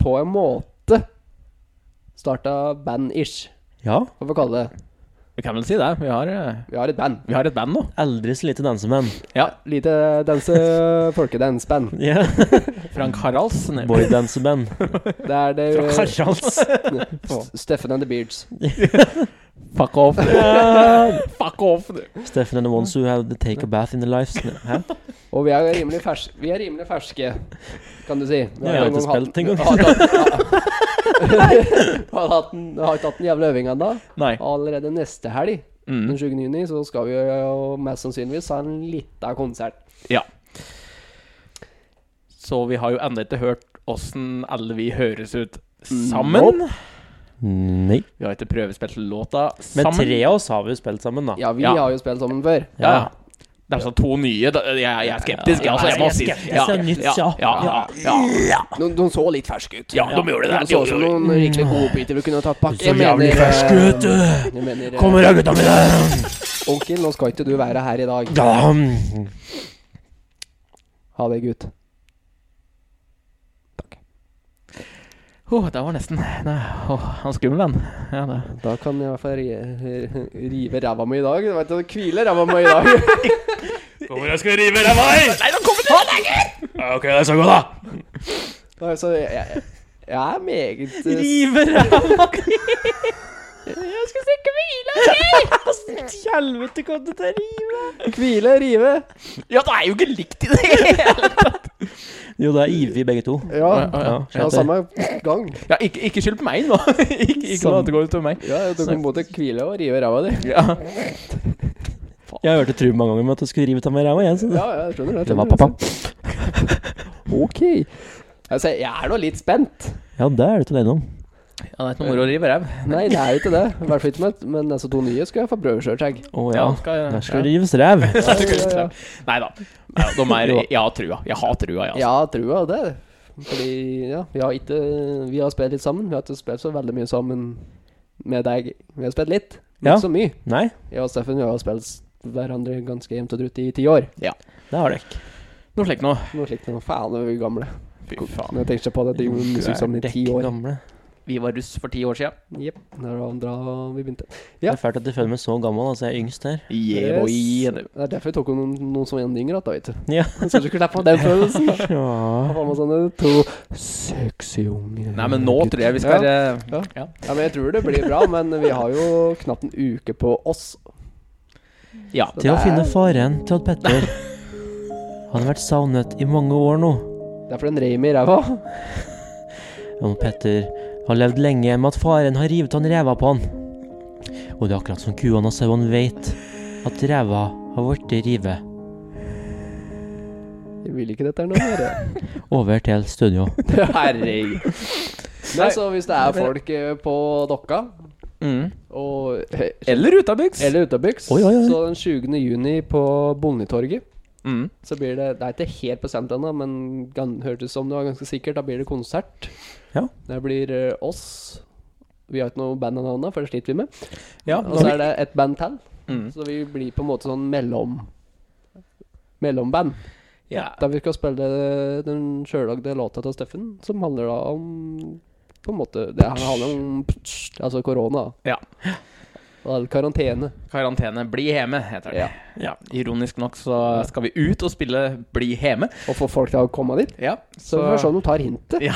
[SPEAKER 1] på en måte starta band-ish,
[SPEAKER 3] Ja.
[SPEAKER 1] hva får vi kalle det.
[SPEAKER 2] vi kan vel si det. Vi har, eh,
[SPEAKER 1] Vi har et band.
[SPEAKER 2] vi har et band nå.
[SPEAKER 3] Aldri så lite dansemenn.
[SPEAKER 1] Lite danse folkedance-band.
[SPEAKER 3] Ja.
[SPEAKER 2] Frank Haraldsen. eh,
[SPEAKER 3] Boydanseband.
[SPEAKER 1] Det er det
[SPEAKER 3] Fra Karals.
[SPEAKER 1] S- Steffen and the Beards.
[SPEAKER 2] Fuck off. Fuck off. du.
[SPEAKER 3] Steffen and the ones who have to take a bath in their lives. Hæ?
[SPEAKER 1] Og vi er rimelig ferske, vi er rimelig ferske kan du si. Vi
[SPEAKER 3] Jeg har
[SPEAKER 1] en
[SPEAKER 3] ikke
[SPEAKER 1] gang hatt-
[SPEAKER 3] spilt altså. engang.
[SPEAKER 1] Har ikke hatt- har hatt den- har ikke hatt den jævla øvinga ennå.
[SPEAKER 2] Nei.
[SPEAKER 1] Allerede neste helg, den
[SPEAKER 2] Mm.
[SPEAKER 1] 20. juni, så skal vi jo mest sannsynligvis ha en lita konsert.
[SPEAKER 2] Ja. Så vi har jo ennå ikke hørt åssen alle vi høres ut sammen.
[SPEAKER 3] Nei.
[SPEAKER 2] Vi har ikke prøvespilt låta
[SPEAKER 3] Men
[SPEAKER 2] sammen.
[SPEAKER 3] tre av oss har vi jo spilt sammen, da.
[SPEAKER 1] Ja, vi
[SPEAKER 2] Ja.
[SPEAKER 1] har jo spilt sammen før.
[SPEAKER 2] Ja, ja. Det er altså to nye. da- Jeg, jeg er skeptisk. altså, jeg må si det.
[SPEAKER 3] skeptisk, det er nytt, ja.
[SPEAKER 2] ja, ja, ja,
[SPEAKER 1] De, de så litt ferske ut.
[SPEAKER 2] ja, de gjorde det.
[SPEAKER 1] De så ut som noen riktig gode biter vi kunne tatt pakke.
[SPEAKER 3] Så jævlig ferske ut,
[SPEAKER 1] du! Jeg mener, eh,
[SPEAKER 3] Kommer da, øh, gutta mine!
[SPEAKER 1] onkel, nå skal ikke du være her i dag.
[SPEAKER 3] Ja.
[SPEAKER 1] Ha det, gutt.
[SPEAKER 2] Åh, det var nesten Nei, åh, han er skummel, han. Ja, det.
[SPEAKER 1] Da kan jeg i hvert fall ri- rive ræva mi i dag. Du vet, det hviler ræva mi i dag.
[SPEAKER 4] Kommer jeg skal rive deg meg?
[SPEAKER 2] Nei, nå kommer det!
[SPEAKER 4] Ja, Ok, det skal gå, da.
[SPEAKER 1] Nei, Så jeg, jeg, jeg er meget eh,
[SPEAKER 3] River ræva di!
[SPEAKER 1] Jeg skal stikke hvile!
[SPEAKER 3] Helvete, kom du til å rive?
[SPEAKER 1] Hvile, rive.
[SPEAKER 2] Ja, det er jo ikke likt i det hele tatt.
[SPEAKER 3] Jo, det er Ivy, begge to.
[SPEAKER 1] Ja,
[SPEAKER 2] ja.
[SPEAKER 1] ja samme gang.
[SPEAKER 2] Ja, ikke, ikke skyld på meg nå. Ikke, ikke noe at det går utover meg.
[SPEAKER 1] Ja, Du kan både hvile og rive ræva di.
[SPEAKER 2] Ja.
[SPEAKER 3] Jeg hørte True mange ganger med at du skulle rive av meg ræva igjen. Så.
[SPEAKER 1] Ja, ja, jeg skjønner det.
[SPEAKER 3] Det var pappa.
[SPEAKER 1] Ok. Altså, jeg er nå litt spent.
[SPEAKER 3] Ja, det er du til deg om.
[SPEAKER 2] ja, det er ikke noe moro å rive ræv.
[SPEAKER 1] Nei, det er jo ikke det. I hvert fall ikke med Men altså, to nye skal jeg få prøvekjørt, jeg.
[SPEAKER 3] Å ja.
[SPEAKER 2] skal,
[SPEAKER 3] Der skal det rives ræv.
[SPEAKER 1] Ja, ja, ja.
[SPEAKER 2] Nei da. Nei, da, De er Jeg har trua. Jeg har trua, jeg, altså.
[SPEAKER 1] Ja, trua det. Fordi, ja, vi har ikke Vi har spilt litt sammen. Vi har ikke spilt så veldig mye sammen med deg. Vi har spilt litt, men
[SPEAKER 3] Ja.
[SPEAKER 1] ikke så mye.
[SPEAKER 3] Nei,
[SPEAKER 1] Jeg og Steffen vi har spilt hverandre ganske jevnt og trutt i ti år.
[SPEAKER 3] det har du ikke.
[SPEAKER 2] Noe slikt nå.
[SPEAKER 1] Noe slikt. noe. Faen, er vi gamle.
[SPEAKER 2] Fy faen.
[SPEAKER 1] Når jeg tenker på det, det er jo musikk sammen i ti år.
[SPEAKER 3] Gamle.
[SPEAKER 2] Vi var russ for ti år sia.
[SPEAKER 1] Jepp. Det var andre vi begynte.
[SPEAKER 3] Det er fælt at jeg føler meg så gammel, altså jeg er yngst her.
[SPEAKER 2] Yeah,
[SPEAKER 1] Yes.
[SPEAKER 2] boy.
[SPEAKER 1] Det er derfor vi tok noen, noen som var en yngre, da, vet du.
[SPEAKER 3] Ja.
[SPEAKER 1] Skal ikke slippe den følelsen.
[SPEAKER 3] Ja.
[SPEAKER 1] Da får man sånne to sexy unge
[SPEAKER 2] Nei, men nå tror jeg vi skal eh,
[SPEAKER 1] Ja.
[SPEAKER 2] Ja.
[SPEAKER 1] Ja, men Jeg tror det blir bra, men vi har jo knapt en uke på oss.
[SPEAKER 2] Ja.
[SPEAKER 1] Så
[SPEAKER 3] Til
[SPEAKER 1] det
[SPEAKER 3] å
[SPEAKER 1] er-
[SPEAKER 3] finne faren til Odd Petter. Han har vært savnet i mange år nå.
[SPEAKER 1] Det er for den reim i ræva.
[SPEAKER 3] Jon Petter har levd lenge med at faren har rivet han ræva på han. Og det er akkurat som kuene og sauene veit, at ræva har blitt rivet
[SPEAKER 1] Jeg vil ikke dette her noe mer. jeg.
[SPEAKER 3] over til studio.
[SPEAKER 1] Herregud. Nei, så hvis det er folk eh, på dokka
[SPEAKER 2] Mm.
[SPEAKER 1] og
[SPEAKER 2] Eller utabygds.
[SPEAKER 1] Eller utabygds,
[SPEAKER 3] Oi, oi, oi.
[SPEAKER 1] så den 20. juni på Bondetorget
[SPEAKER 2] Mm.
[SPEAKER 1] så blir det Det er ikke helt bestemt ennå, men gan, hørtes som det var ganske sikkert. Da blir det konsert.
[SPEAKER 3] Ja.
[SPEAKER 1] Det blir eh, oss. Vi har ikke noe band av navnet, for det sliter vi med.
[SPEAKER 2] Ja,
[SPEAKER 1] Og så er det et band til.
[SPEAKER 2] Mm.
[SPEAKER 1] Så vi blir på en måte sånn mellom mellomband.
[SPEAKER 2] Ja.
[SPEAKER 1] Der vi skal spille den sjøllagde låta til Steffen, som handler da om På en måte Det her handler om altså korona.
[SPEAKER 2] Ja.
[SPEAKER 1] Og all karantene.
[SPEAKER 2] Karantene. Bli hjemme, heter det.
[SPEAKER 1] Ja.
[SPEAKER 2] Ja. Ironisk nok så skal vi ut og spille Bli hjemme.
[SPEAKER 1] Og få folk til å komme dit.
[SPEAKER 2] Ja,
[SPEAKER 1] Så vi får se om de tar hintet.
[SPEAKER 2] Ja.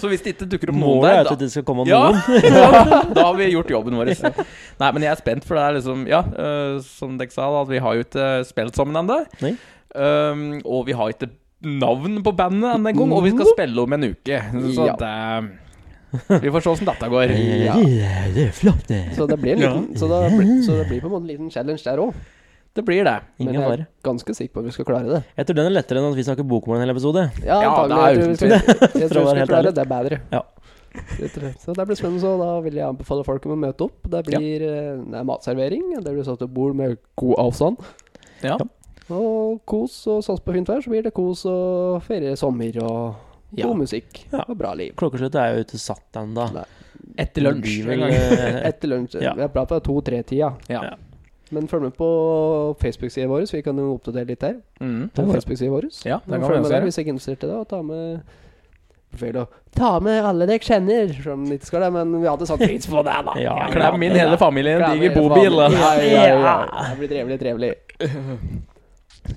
[SPEAKER 2] Så hvis det ikke dukker opp noen
[SPEAKER 3] Målet er
[SPEAKER 2] der,
[SPEAKER 3] jo
[SPEAKER 2] da
[SPEAKER 3] at det skal komme
[SPEAKER 2] ja,
[SPEAKER 3] noen.
[SPEAKER 2] da har vi gjort jobben vår. Nei, men jeg er spent, for det er liksom Ja, eh, som dere sa, da, at vi har jo ikke eh, spilt sammen ennå.
[SPEAKER 3] Nei.
[SPEAKER 2] Um, og vi har ikke navn på bandet ennå engang, og vi skal spille om en uke. Så
[SPEAKER 1] Ja.
[SPEAKER 2] det Vi får se åssen dette går.
[SPEAKER 1] Ja.
[SPEAKER 3] Det er flott, det.
[SPEAKER 1] Så det blir en liten Så det blir, så det blir på en måte en liten challenge der òg.
[SPEAKER 2] Det blir det.
[SPEAKER 1] Men
[SPEAKER 3] Ingen
[SPEAKER 1] jeg er
[SPEAKER 3] fare.
[SPEAKER 1] ganske sikker på at vi skal klare det.
[SPEAKER 3] Jeg tror den er lettere enn at vi snakker bokmål en hel episode.
[SPEAKER 1] Ja,
[SPEAKER 2] Ja, det
[SPEAKER 1] antagelig.
[SPEAKER 2] er
[SPEAKER 1] Jeg tror vi skal, jeg tror vi
[SPEAKER 3] For å være
[SPEAKER 1] skal
[SPEAKER 3] helt
[SPEAKER 1] klare
[SPEAKER 3] ærlig.
[SPEAKER 1] det. Det er bedre.
[SPEAKER 3] Ja.
[SPEAKER 1] Det tror jeg. Så det blir spennende. Så da vil jeg anbefale folk om å møte opp. Det blir eh, det er matservering. Det blir satt et bord med god avstand.
[SPEAKER 2] Ja.
[SPEAKER 1] Og kos og sats på fint vær, så blir det kos og ferie i sommer og
[SPEAKER 2] Ja.
[SPEAKER 1] god musikk
[SPEAKER 3] Ja.
[SPEAKER 1] og bra liv.
[SPEAKER 3] Klokkeslutt er jo ikke satt ennå.
[SPEAKER 1] Nei.
[SPEAKER 2] Etter lunsj
[SPEAKER 3] Det blir vel,
[SPEAKER 2] en gang.
[SPEAKER 3] eh,
[SPEAKER 1] Etter lunsj.
[SPEAKER 3] Ja.
[SPEAKER 1] Vi har pratet om to-tre-tida.
[SPEAKER 2] Ja.
[SPEAKER 3] Ja.
[SPEAKER 1] Men følg med på Facebook-sida vår, så vi kan jo oppdatere litt der.
[SPEAKER 2] Mm.
[SPEAKER 1] På
[SPEAKER 3] Ja.
[SPEAKER 1] Facebook-sida vår.
[SPEAKER 2] Ja,
[SPEAKER 1] Og
[SPEAKER 2] det kan vi
[SPEAKER 1] følg med
[SPEAKER 2] også
[SPEAKER 1] der
[SPEAKER 2] gjøre.
[SPEAKER 1] hvis jeg ikke er interessert i det. Og ta med Feil å Ta med alle dere kjenner! Selv om det ikke skal det, men vi hadde satt pris på det, da.
[SPEAKER 3] Ja,
[SPEAKER 2] Klem inn hele familien i en
[SPEAKER 1] Klem
[SPEAKER 2] diger
[SPEAKER 1] hele
[SPEAKER 2] bobil.
[SPEAKER 1] familien.
[SPEAKER 2] da.
[SPEAKER 1] Ja, ja, ja. Det blir trevelig, trevelig.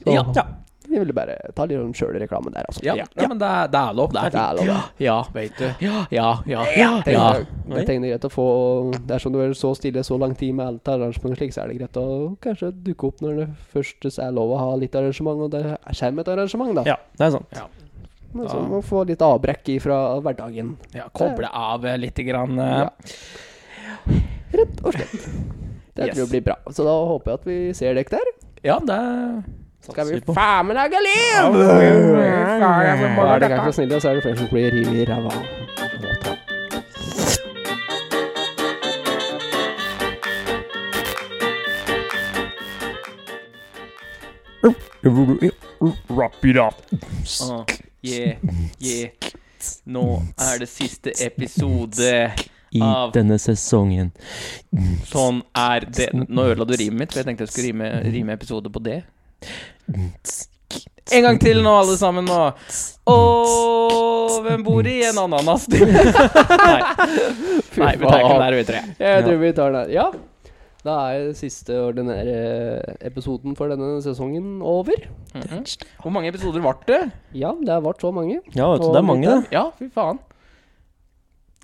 [SPEAKER 1] Så,
[SPEAKER 2] Ja.
[SPEAKER 1] Vi ville bare ta litt om sjølreklame der, altså.
[SPEAKER 2] Ja, Nei, men det er, det er lov. Det er
[SPEAKER 1] Det er lov.
[SPEAKER 2] Ja, ja, vet du. Ja, ja, ja.
[SPEAKER 1] Tenk,
[SPEAKER 2] ja.
[SPEAKER 1] Jeg tenkte det er greit å få Dersom du er så stille så lang tid med alt arrangement og slik, så er det greit å kanskje dukke opp når det først er lov å ha litt arrangement, og det kommer et arrangement, da.
[SPEAKER 3] Ja, det er sant.
[SPEAKER 1] Men så må man få litt avbrekk ifra hverdagen.
[SPEAKER 2] ja koble av eh, litt. Grann, eh.
[SPEAKER 1] Ja. Rett og slett. Det
[SPEAKER 2] Yes.
[SPEAKER 1] tror jeg blir bra. Så da håper jeg at vi ser dere der.
[SPEAKER 2] ja, det er
[SPEAKER 1] Skal vi
[SPEAKER 3] vi på.
[SPEAKER 1] faen meg lage liv! Og er dere ikke så snille, så er det flere som blir revet i ræva.
[SPEAKER 2] Ah, yeah, yeah. Nå er det siste episode
[SPEAKER 3] I
[SPEAKER 2] Av-
[SPEAKER 3] denne sesongen.
[SPEAKER 2] Sånn er det Nå ødela du rimet mitt, for jeg tenkte jeg skulle rime, rime episode på det. En gang til nå, alle sammen. nå Og hvem bor i en ananas? Nei, Nei vi tar ikke den der, vi tre.
[SPEAKER 1] Jeg tror vi tar den her. Ja. Da er siste ordinære episoden for denne sesongen over.
[SPEAKER 2] Mhm. Hvor mange episoder ble det?
[SPEAKER 1] Ja, det har vært så mange.
[SPEAKER 3] Ja, vet du, det er mange, det.
[SPEAKER 2] Ja, fy faen.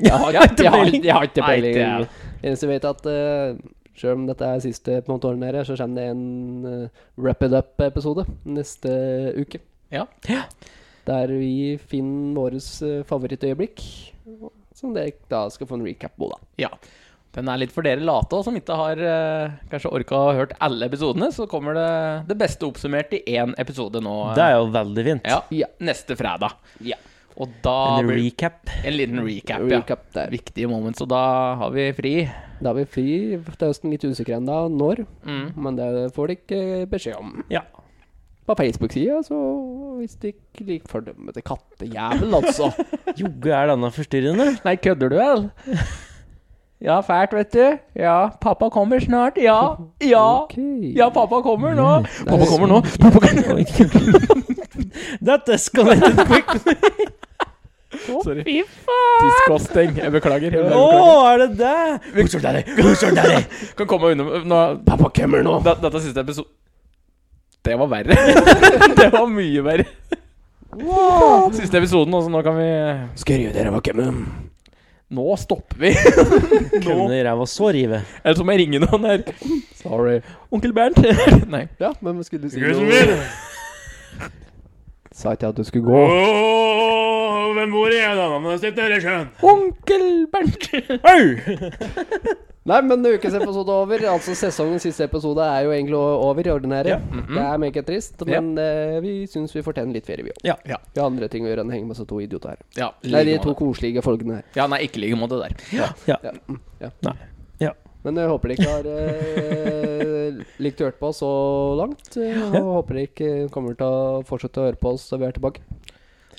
[SPEAKER 1] Jeg har, jeg, jeg har, jeg har ikke
[SPEAKER 2] Nei,
[SPEAKER 1] peiling.
[SPEAKER 2] det er-
[SPEAKER 1] Eneste jeg vet, er at eh, selv om dette er siste på en måte ordinære, så kommer det en eh, wrap it up-episode neste uke.
[SPEAKER 2] Ja.
[SPEAKER 1] Der vi finner våres eh, favorittøyeblikk, som dere da skal få en recap på, da.
[SPEAKER 2] Ja. Den er litt for dere late også, som ikke har eh, kanskje orka å ha hørt alle episodene. Så kommer det det beste oppsummert i én episode nå. eh,
[SPEAKER 3] Det er jo veldig fint.
[SPEAKER 2] ja,
[SPEAKER 1] Ja.
[SPEAKER 2] Neste fredag.
[SPEAKER 1] Ja.
[SPEAKER 2] Og da
[SPEAKER 3] En
[SPEAKER 2] blir
[SPEAKER 3] recap.
[SPEAKER 2] en liten recap.
[SPEAKER 1] Recap
[SPEAKER 2] ja.
[SPEAKER 1] der.
[SPEAKER 2] Viktige moments. Og da har vi fri.
[SPEAKER 1] Da er vi fri til høsten, litt usikre ennå når,
[SPEAKER 2] Mm.
[SPEAKER 1] men det får dere ikke eh, beskjed om.
[SPEAKER 3] Ja.
[SPEAKER 1] På Facebook-sida, så hvis dere ikke liker fordømmete kattejævel, altså.
[SPEAKER 3] Jogge er denne forstyrrende.
[SPEAKER 2] Nei, kødder du, vel? Ja, fælt, vet du. Ja, pappa kommer snart. Ja, ja.
[SPEAKER 1] Ok.
[SPEAKER 2] Ja, pappa kommer nå. Pappa kommer nå. Pappa kommer nå.
[SPEAKER 3] That escalated quick.
[SPEAKER 2] Sorry. Fy faen. Diskosting. Jeg beklager.
[SPEAKER 3] Å,
[SPEAKER 2] Jeg beklager.
[SPEAKER 3] er det det?
[SPEAKER 2] Who's your daddy? Who's your daddy? Kan komme unna nå, Pappa kommer nå! Dette, dette er siste episode Det var verre. det var mye verre. Siste episoden, altså. Nå kan vi
[SPEAKER 1] Skal jeg gjøre dere hva kemmen?
[SPEAKER 2] Nå stopper vi!
[SPEAKER 3] Kønne i ræva så rive.
[SPEAKER 2] Eller så må jeg ringe noen her.
[SPEAKER 1] Sorry.
[SPEAKER 2] Onkel Bernt. Nei.
[SPEAKER 1] Ja, men hva skulle du si noe? Sa ikke jeg at du skulle gå.
[SPEAKER 4] hvem bor i en annen sitt nede i sjøen?
[SPEAKER 2] Onkel Bernt.
[SPEAKER 1] Nei, men ukens episode er over. Altså sesongens siste episode er jo egentlig o- over. i ordinære
[SPEAKER 2] Ja, mhm.
[SPEAKER 1] Det er meget trist, men eh, vi syns vi fortjener litt ferie, vi òg.
[SPEAKER 2] Ja. Ja.
[SPEAKER 1] Vi har andre ting å gjøre enn å henge med så to idioter her.
[SPEAKER 2] ja
[SPEAKER 1] Nei, de
[SPEAKER 2] like
[SPEAKER 1] to
[SPEAKER 2] måte.
[SPEAKER 1] koselige folkene her.
[SPEAKER 2] Ja, nei, ikke like måte der.
[SPEAKER 1] Ja. mm, ja.
[SPEAKER 3] Nei. Ja.
[SPEAKER 1] Men jeg håper dere ikke har eh, likt å høre på oss så langt. eh, Og håper dere ikke kommer til å fortsette å høre på oss når vi er tilbake.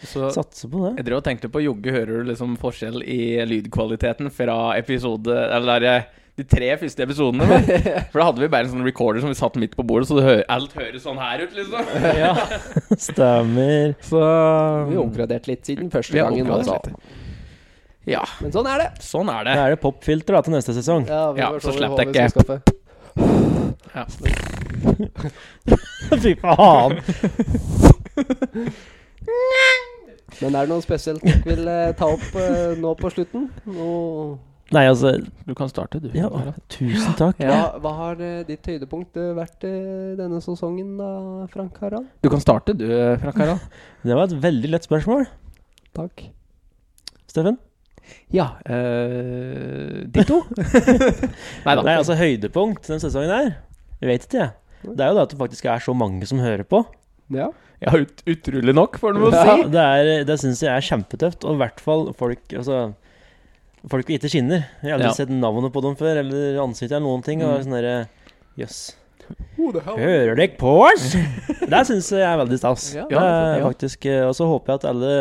[SPEAKER 2] Så
[SPEAKER 3] Satser på det.
[SPEAKER 2] Jeg drev og tenkte på Jogge, hører du liksom forskjell i lydkvaliteten fra episode Eller eh, de tre første episodene? da? For da hadde vi bare en sånn recorder som vi satt midt på bordet, så det hø alt høres sånn her ut, liksom.
[SPEAKER 3] Ja. Stemmer.
[SPEAKER 2] Så
[SPEAKER 1] Vi har oppgradert litt siden første
[SPEAKER 2] Mm. Vi har
[SPEAKER 1] gangen.
[SPEAKER 2] oppgradert
[SPEAKER 1] Altså.
[SPEAKER 2] Ja,
[SPEAKER 1] Men sånn er det.
[SPEAKER 2] sånn er det.
[SPEAKER 3] Da er det popfilter da, til neste sesong.
[SPEAKER 1] Ja,
[SPEAKER 2] Ja,
[SPEAKER 1] får
[SPEAKER 2] så
[SPEAKER 1] se
[SPEAKER 2] slipper
[SPEAKER 1] hva
[SPEAKER 2] jeg
[SPEAKER 1] vi skal skaffe.
[SPEAKER 3] Fy faen.
[SPEAKER 1] Men er det noe spesielt dere vil eh, ta opp eh, nå på slutten? Nå-
[SPEAKER 3] Nei, altså
[SPEAKER 2] Du kan starte, du.
[SPEAKER 3] Ja, tusen takk.
[SPEAKER 1] Ja, hva har eh, ditt høydepunkt eh, vært eh, denne sesongen da, Frank Harald?
[SPEAKER 2] Du kan starte, du, Frank Harald.
[SPEAKER 3] Det var et veldig lett spørsmål,
[SPEAKER 1] Takk.
[SPEAKER 3] Steffen.
[SPEAKER 2] Ja. eh, ditto. Nei da.
[SPEAKER 3] Nei, altså høydepunkt den sesongen her. Jeg vet ikke, jeg. Det er jo det at det faktisk er så mange som hører på.
[SPEAKER 1] Ja.
[SPEAKER 2] Ja, ut utrolig nok, får du noe å
[SPEAKER 1] Ja.
[SPEAKER 2] si.
[SPEAKER 3] Det, er- det syns jeg er kjempetøft. Og i hvert fall folk altså, Folk vi ikke kjenner. Jeg har aldri
[SPEAKER 2] Ja.
[SPEAKER 3] sett navnet på dem før, eller ansiktet eller noen ting. Og
[SPEAKER 2] Mm.
[SPEAKER 3] sånn derre Jøss.
[SPEAKER 2] Oh.
[SPEAKER 1] Eh,
[SPEAKER 3] Hører dere på oss?! det syns jeg er veldig stas.
[SPEAKER 1] Ja,
[SPEAKER 3] det er
[SPEAKER 2] ja.
[SPEAKER 3] faktisk eh, Og så håper jeg at alle,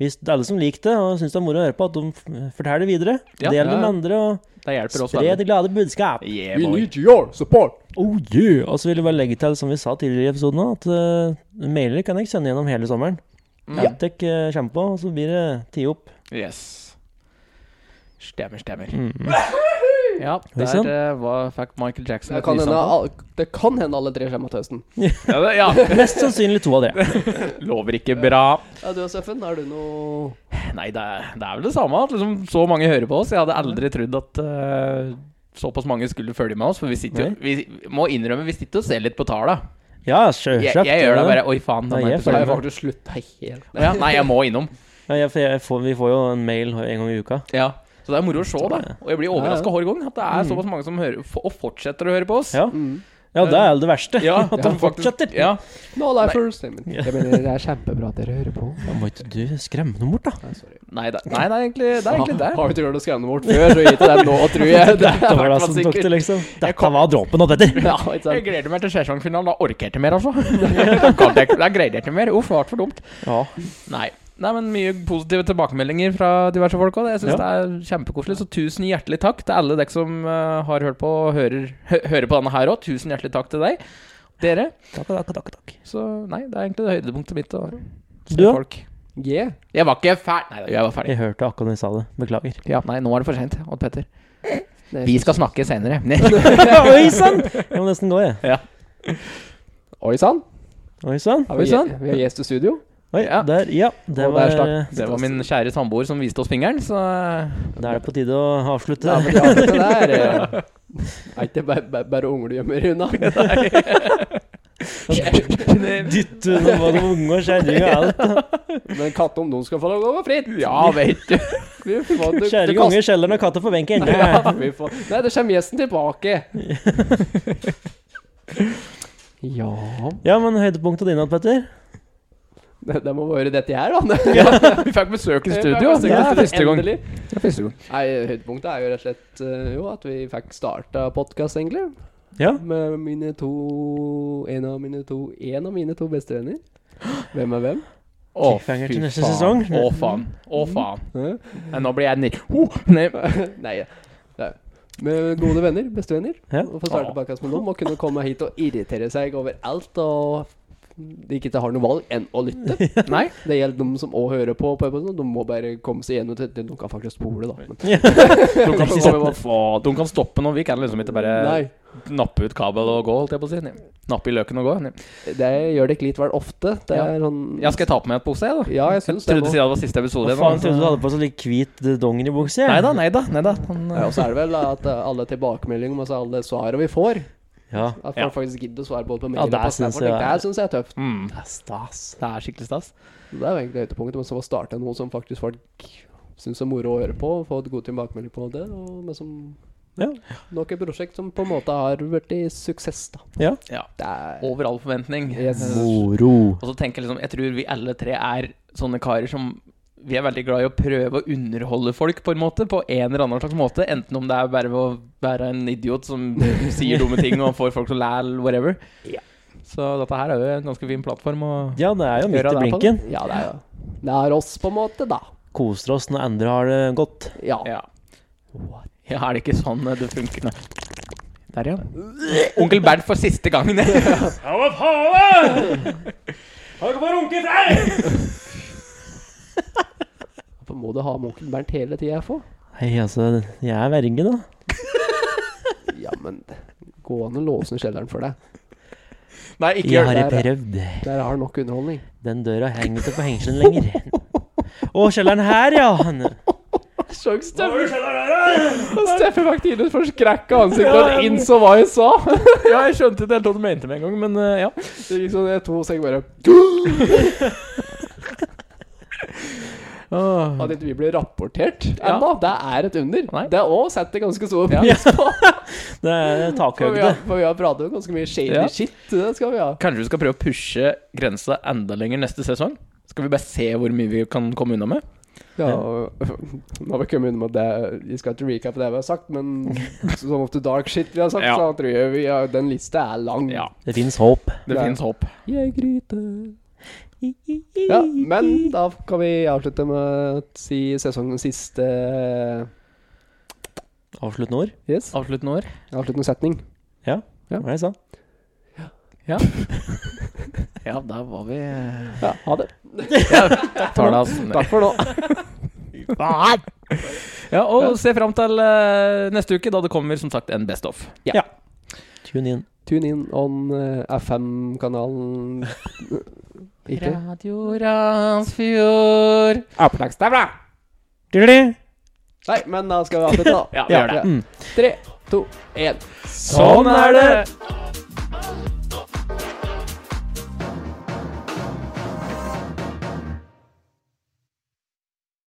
[SPEAKER 3] hvis, alle som liker det og syns det er moro å høre på, at de f- forteller det videre.
[SPEAKER 2] Ja.
[SPEAKER 3] Del det
[SPEAKER 1] Ja, ja.
[SPEAKER 3] med andre, og
[SPEAKER 2] Det hjelper oss
[SPEAKER 3] spre
[SPEAKER 2] veldig.
[SPEAKER 3] det glade budskap.
[SPEAKER 2] Yeah, boy.
[SPEAKER 1] your support!
[SPEAKER 3] Oh yeah! Og så vil jeg bare legge til, som vi sa tidligere i episoden, også, at uh, mailer kan jeg sende gjennom hele sommeren.
[SPEAKER 2] Mm.
[SPEAKER 3] Adtech eh, kommer på, og så blir det ti opp.
[SPEAKER 2] Yes. Stemmer, stemmer.
[SPEAKER 3] Mm.
[SPEAKER 2] Ja,
[SPEAKER 3] Oi,
[SPEAKER 2] der
[SPEAKER 3] sann.
[SPEAKER 2] eh, var, fikk Michael Jackson
[SPEAKER 1] Det kan, sånn?
[SPEAKER 2] nytt
[SPEAKER 1] hende,
[SPEAKER 2] samtale.
[SPEAKER 1] al- det kan hende alle tre kommer til høsten.
[SPEAKER 2] Ja, det- ja.
[SPEAKER 3] Mest sannsynlig to av dere.
[SPEAKER 2] Lover ikke bra.
[SPEAKER 1] Ja, du og Steffen, har du noe
[SPEAKER 2] Nei, det er, det er vel det samme. At liksom, så mange hører på oss. Jeg hadde aldri trodd at eh, såpass mange skulle følge med oss. For vi sitter jo
[SPEAKER 3] Nei.
[SPEAKER 2] Vi må innrømme, vi sitter og ser litt på tallene.
[SPEAKER 3] Ja,
[SPEAKER 2] Jeg,
[SPEAKER 3] sjølsagt.
[SPEAKER 2] jeg gjør det bare Oi, faen.
[SPEAKER 3] Nei,
[SPEAKER 2] Den
[SPEAKER 3] jeg
[SPEAKER 2] er
[SPEAKER 1] Nei,
[SPEAKER 3] følger
[SPEAKER 2] episoden.
[SPEAKER 1] jeg har faktisk slutta helt.
[SPEAKER 2] Ja, nei, jeg må innom.
[SPEAKER 3] Ja, jeg, jeg får, vi får jo en mail en gang i uka.
[SPEAKER 2] Ja. Så det er moro å se, da. Og jeg blir overraska hver gang at det er
[SPEAKER 3] Mm.
[SPEAKER 2] såpass mange som hører f- og fortsetter å høre på oss.
[SPEAKER 3] Ja, ja det er jo det verste.
[SPEAKER 2] Mm. Ja,
[SPEAKER 3] at de
[SPEAKER 2] ja, faktisk.
[SPEAKER 3] fortsetter.
[SPEAKER 2] Ja.
[SPEAKER 1] No lifers. Nei, men-
[SPEAKER 3] Ja.
[SPEAKER 1] Jeg mener, det er kjempebra at dere hører på.
[SPEAKER 3] Da må ikke du skremme dem bort, da.
[SPEAKER 1] Nei, sorry.
[SPEAKER 2] Nei, det, nei, det er egentlig det. Er egentlig det.
[SPEAKER 1] Har vi ikke hørt å skremme bort før, så gi til den nå, tror jeg. Det
[SPEAKER 3] Det var
[SPEAKER 1] er
[SPEAKER 3] det som tok
[SPEAKER 1] sikkert.
[SPEAKER 3] det, liksom.
[SPEAKER 2] Jeg
[SPEAKER 3] Dette
[SPEAKER 2] kom-
[SPEAKER 3] var dråpen og detter.
[SPEAKER 1] Ja, ikke
[SPEAKER 2] Jeg
[SPEAKER 1] sant.
[SPEAKER 2] gleder meg til sesongfinalen. Da orker jeg ikke mer, altså. Da kan jeg ikke- da greide jeg ikke mer. Uff, det ble for dumt.
[SPEAKER 3] Ja.
[SPEAKER 2] Nei. Nei, men Mye positive tilbakemeldinger fra diverse folk. Og det- jeg synes
[SPEAKER 3] Ja.
[SPEAKER 2] det er kjempekoselig. Så tusen hjertelig takk til alle dere som eh, har hørt på og hører, hø hører på denne her òg. Tusen hjertelig takk til deg. Dere.
[SPEAKER 3] Takk, takk, takk, takk.
[SPEAKER 2] Så nei, det er egentlig det høydepunktet mitt. å se
[SPEAKER 3] Du, ja?
[SPEAKER 2] folk.
[SPEAKER 1] Yeah.
[SPEAKER 2] Jeg var ikke ferdig. Nei, jeg var ferdig.
[SPEAKER 3] Jeg hørte akkurat når jeg sa det. Beklager.
[SPEAKER 2] Ja, nei, nå er det for seint, Odd Petter.
[SPEAKER 1] Det er-
[SPEAKER 2] Vi skal snakke seinere.
[SPEAKER 3] Oi sann! Jeg må nesten gå, jeg.
[SPEAKER 1] Oi sann.
[SPEAKER 3] Oi sann.
[SPEAKER 1] Har vi
[SPEAKER 2] Oi, sann.
[SPEAKER 1] Vi har gjest i studio.
[SPEAKER 3] Oi,
[SPEAKER 2] Ja.
[SPEAKER 3] der. Ja, det
[SPEAKER 1] Og der
[SPEAKER 3] var
[SPEAKER 1] stakk.
[SPEAKER 2] Det var min kjære samboer som viste oss fingeren, så eh,
[SPEAKER 3] Da er det på tide å avslutte.
[SPEAKER 1] Ja, men ja, det der eh, Er ikke bare, bare, bare unger du gjemmer unna?
[SPEAKER 3] Dytte under både unge og kjerring og alt.
[SPEAKER 1] Men katter om noen skal få lov å gå fritt.
[SPEAKER 2] Ja, vet du.
[SPEAKER 1] Vi får- du- du
[SPEAKER 3] Kjerring,
[SPEAKER 1] kaster-
[SPEAKER 3] unge, i kjelleren og katta på benken.
[SPEAKER 1] Ja, vi får- Nei, det kommer gjesten tilbake. Ja
[SPEAKER 3] Ja, men høydepunktet dine, Petter?
[SPEAKER 1] Det, det må være dette her, da.
[SPEAKER 2] Vi fikk besøk i studio.
[SPEAKER 1] Ja,
[SPEAKER 2] Det er første gang.
[SPEAKER 1] Endelig.
[SPEAKER 2] Det er første gang.
[SPEAKER 1] Nei, høydepunktet er jo rett og slett eh, jo at vi fikk starta podkast, egentlig.
[SPEAKER 3] Ja.
[SPEAKER 1] Med mine to En av mine to En av mine to bestevenner. Hvem er hvem?
[SPEAKER 2] Å,
[SPEAKER 3] Cliffhanger
[SPEAKER 2] fy
[SPEAKER 3] til neste
[SPEAKER 2] faen.
[SPEAKER 3] sesong.
[SPEAKER 2] Å, faen. Å, faen.
[SPEAKER 1] Hæ?
[SPEAKER 2] Nei, nå blir jeg nir... Oh, nei.
[SPEAKER 1] Nei, ja. det er- Med gode venner, bestevenner.
[SPEAKER 3] Ja.
[SPEAKER 1] Å få starte
[SPEAKER 2] Åh.
[SPEAKER 1] podkast med dem og kunne komme hit og irritere seg over alt. Og de ikke har noe valg enn å lytte.
[SPEAKER 2] nei.
[SPEAKER 1] Det gjelder de som òg hører på. på episoden, de må bare komme seg gjennom det. De kan faktisk spole, da. Men,
[SPEAKER 2] De kan, stoppe, de kan stoppe når vi kan liksom ikke bare
[SPEAKER 1] nei.
[SPEAKER 2] nappe ut kabel og gå, holdt jeg på å si. Nei. Nappe i løken og gå. Nei.
[SPEAKER 1] Det gjør dere litt vel ofte. Det
[SPEAKER 2] Ja.
[SPEAKER 1] er sånn
[SPEAKER 2] Ja, skal jeg ta på meg et pose, jeg, da?
[SPEAKER 1] Ja, jeg syns det.
[SPEAKER 2] Trodde
[SPEAKER 1] nå.
[SPEAKER 2] siden det var siste episode.
[SPEAKER 3] Hva faen trodde du hadde på sånn litt hvit eh, dongeribukse?
[SPEAKER 2] Nei da, nei da. Nei da. Han,
[SPEAKER 1] Ja, og så er det vel at eh, alle tilbakemeldinger, altså alle svarene vi får
[SPEAKER 3] Ja.
[SPEAKER 1] At
[SPEAKER 2] Ja.
[SPEAKER 1] folk faktisk gidder å svare både på
[SPEAKER 3] Ja,
[SPEAKER 1] mail og
[SPEAKER 3] det
[SPEAKER 1] på
[SPEAKER 3] synes
[SPEAKER 1] Snapchat.
[SPEAKER 3] jeg er-
[SPEAKER 1] Det syns jeg er tøft.
[SPEAKER 2] mm,
[SPEAKER 3] Det er stas.
[SPEAKER 2] det er skikkelig stas.
[SPEAKER 1] Så Det er jo egentlig høydepunktet. Men så å starte noe som faktisk folk syns er moro å høre på, og få et god tilbakemelding på det, og men som
[SPEAKER 4] Ja.
[SPEAKER 1] Nok et prosjekt som på en måte har blitt i suksess, da.
[SPEAKER 4] Ja.
[SPEAKER 2] Ja.
[SPEAKER 1] Det er
[SPEAKER 2] Over all forventning.
[SPEAKER 1] Yes.
[SPEAKER 3] Moro.
[SPEAKER 2] Og så tenker jeg liksom Jeg tror vi alle tre er sånne karer som vi er veldig glad i å prøve å underholde folk på en måte På en eller annen slags måte. Enten om det er bare ved å være en idiot som sier dumme ting og får folk til å lære, eller whatever.
[SPEAKER 1] Ja.
[SPEAKER 2] Så dette her er jo en ganske fin plattform. Og
[SPEAKER 3] Ja, det er jo midt
[SPEAKER 2] Høra
[SPEAKER 3] i
[SPEAKER 2] der på
[SPEAKER 3] blinken.
[SPEAKER 1] Ja, det er jo Det er oss, på en måte, da.
[SPEAKER 3] Koser oss når andre har det godt.
[SPEAKER 1] Ja.
[SPEAKER 2] ja. ja, er det ikke sånn det funker? Nei. Der, ja. Onkel Bernt for siste gangen.
[SPEAKER 4] Ja, hva faen? Har dere bare runket deg?
[SPEAKER 1] Hvorfor må du ha med onkel Bernt hele tida, FH?
[SPEAKER 3] Hei, altså, jeg er verge, da.
[SPEAKER 1] Ja, men gå an å låse ned kjelleren for deg.
[SPEAKER 2] Nei, ikke
[SPEAKER 3] Jeg
[SPEAKER 2] gjør det.
[SPEAKER 3] har
[SPEAKER 1] det her,
[SPEAKER 3] prøvd.
[SPEAKER 1] Der har du nok underholdning.
[SPEAKER 3] Den døra henger ikke på hengselen lenger. Å, kjelleren her, ja!
[SPEAKER 1] Sjokk,
[SPEAKER 4] Hva har du skjedd der?
[SPEAKER 1] Steffen fikk tidligere forskrekka ansiktet og innså hva jeg sa.
[SPEAKER 2] Ja, jeg skjønte ikke helt hva du mente med en gang, men eh, ja.
[SPEAKER 1] Det gikk sånn jeg to sek bare
[SPEAKER 2] Åh.
[SPEAKER 1] At ikke vi ble rapportert
[SPEAKER 2] Ja.
[SPEAKER 1] ennå, det er et under.
[SPEAKER 2] Nei.
[SPEAKER 1] Det òg setter ganske stor
[SPEAKER 2] Ja.
[SPEAKER 1] pris på.
[SPEAKER 3] Det er
[SPEAKER 1] For, vi
[SPEAKER 3] takhøyde.
[SPEAKER 1] har, for vi har pratet om ganske mye shady
[SPEAKER 2] Ja.
[SPEAKER 1] shit. Det skal vi ha.
[SPEAKER 2] Kanskje vi skal prøve å pushe grensa enda lenger neste sesong? Skal vi bare se hvor mye vi kan komme unna med?
[SPEAKER 1] Ja, og, nå har vi kommet unna med det Vi skal ikke recappe det vi har sagt, men som of the dark shit vi har sagt,
[SPEAKER 2] Ja.
[SPEAKER 1] så tror jeg vi har, den lista er lang.
[SPEAKER 2] Ja,
[SPEAKER 3] Det fins håp.
[SPEAKER 2] det
[SPEAKER 1] Ja.
[SPEAKER 2] finnes håp.
[SPEAKER 1] Jeg gryter Ja, men da kan vi avslutte med å si sesongens siste
[SPEAKER 3] Avsluttende ord.
[SPEAKER 1] Yes,
[SPEAKER 2] Avsluttende ord.
[SPEAKER 1] avsluttende setning. Ja.
[SPEAKER 3] Hva er det jeg sa?
[SPEAKER 2] Ja, der var vi
[SPEAKER 1] Ja, ha det.
[SPEAKER 2] Tar det altså.
[SPEAKER 1] Takk for nå.
[SPEAKER 2] Ja, og se fram til eh, neste uke, da det kommer som sagt en Best of.
[SPEAKER 3] Tune in.
[SPEAKER 1] Tune in on eh, FM-kanalen Ikke?
[SPEAKER 2] Radio Randsfjord.
[SPEAKER 1] Nei, men da skal vi avslutte, da.
[SPEAKER 2] Ja, vi gjør det.
[SPEAKER 1] Tre, to, én.
[SPEAKER 2] Sånn er det!
[SPEAKER 5] Sånn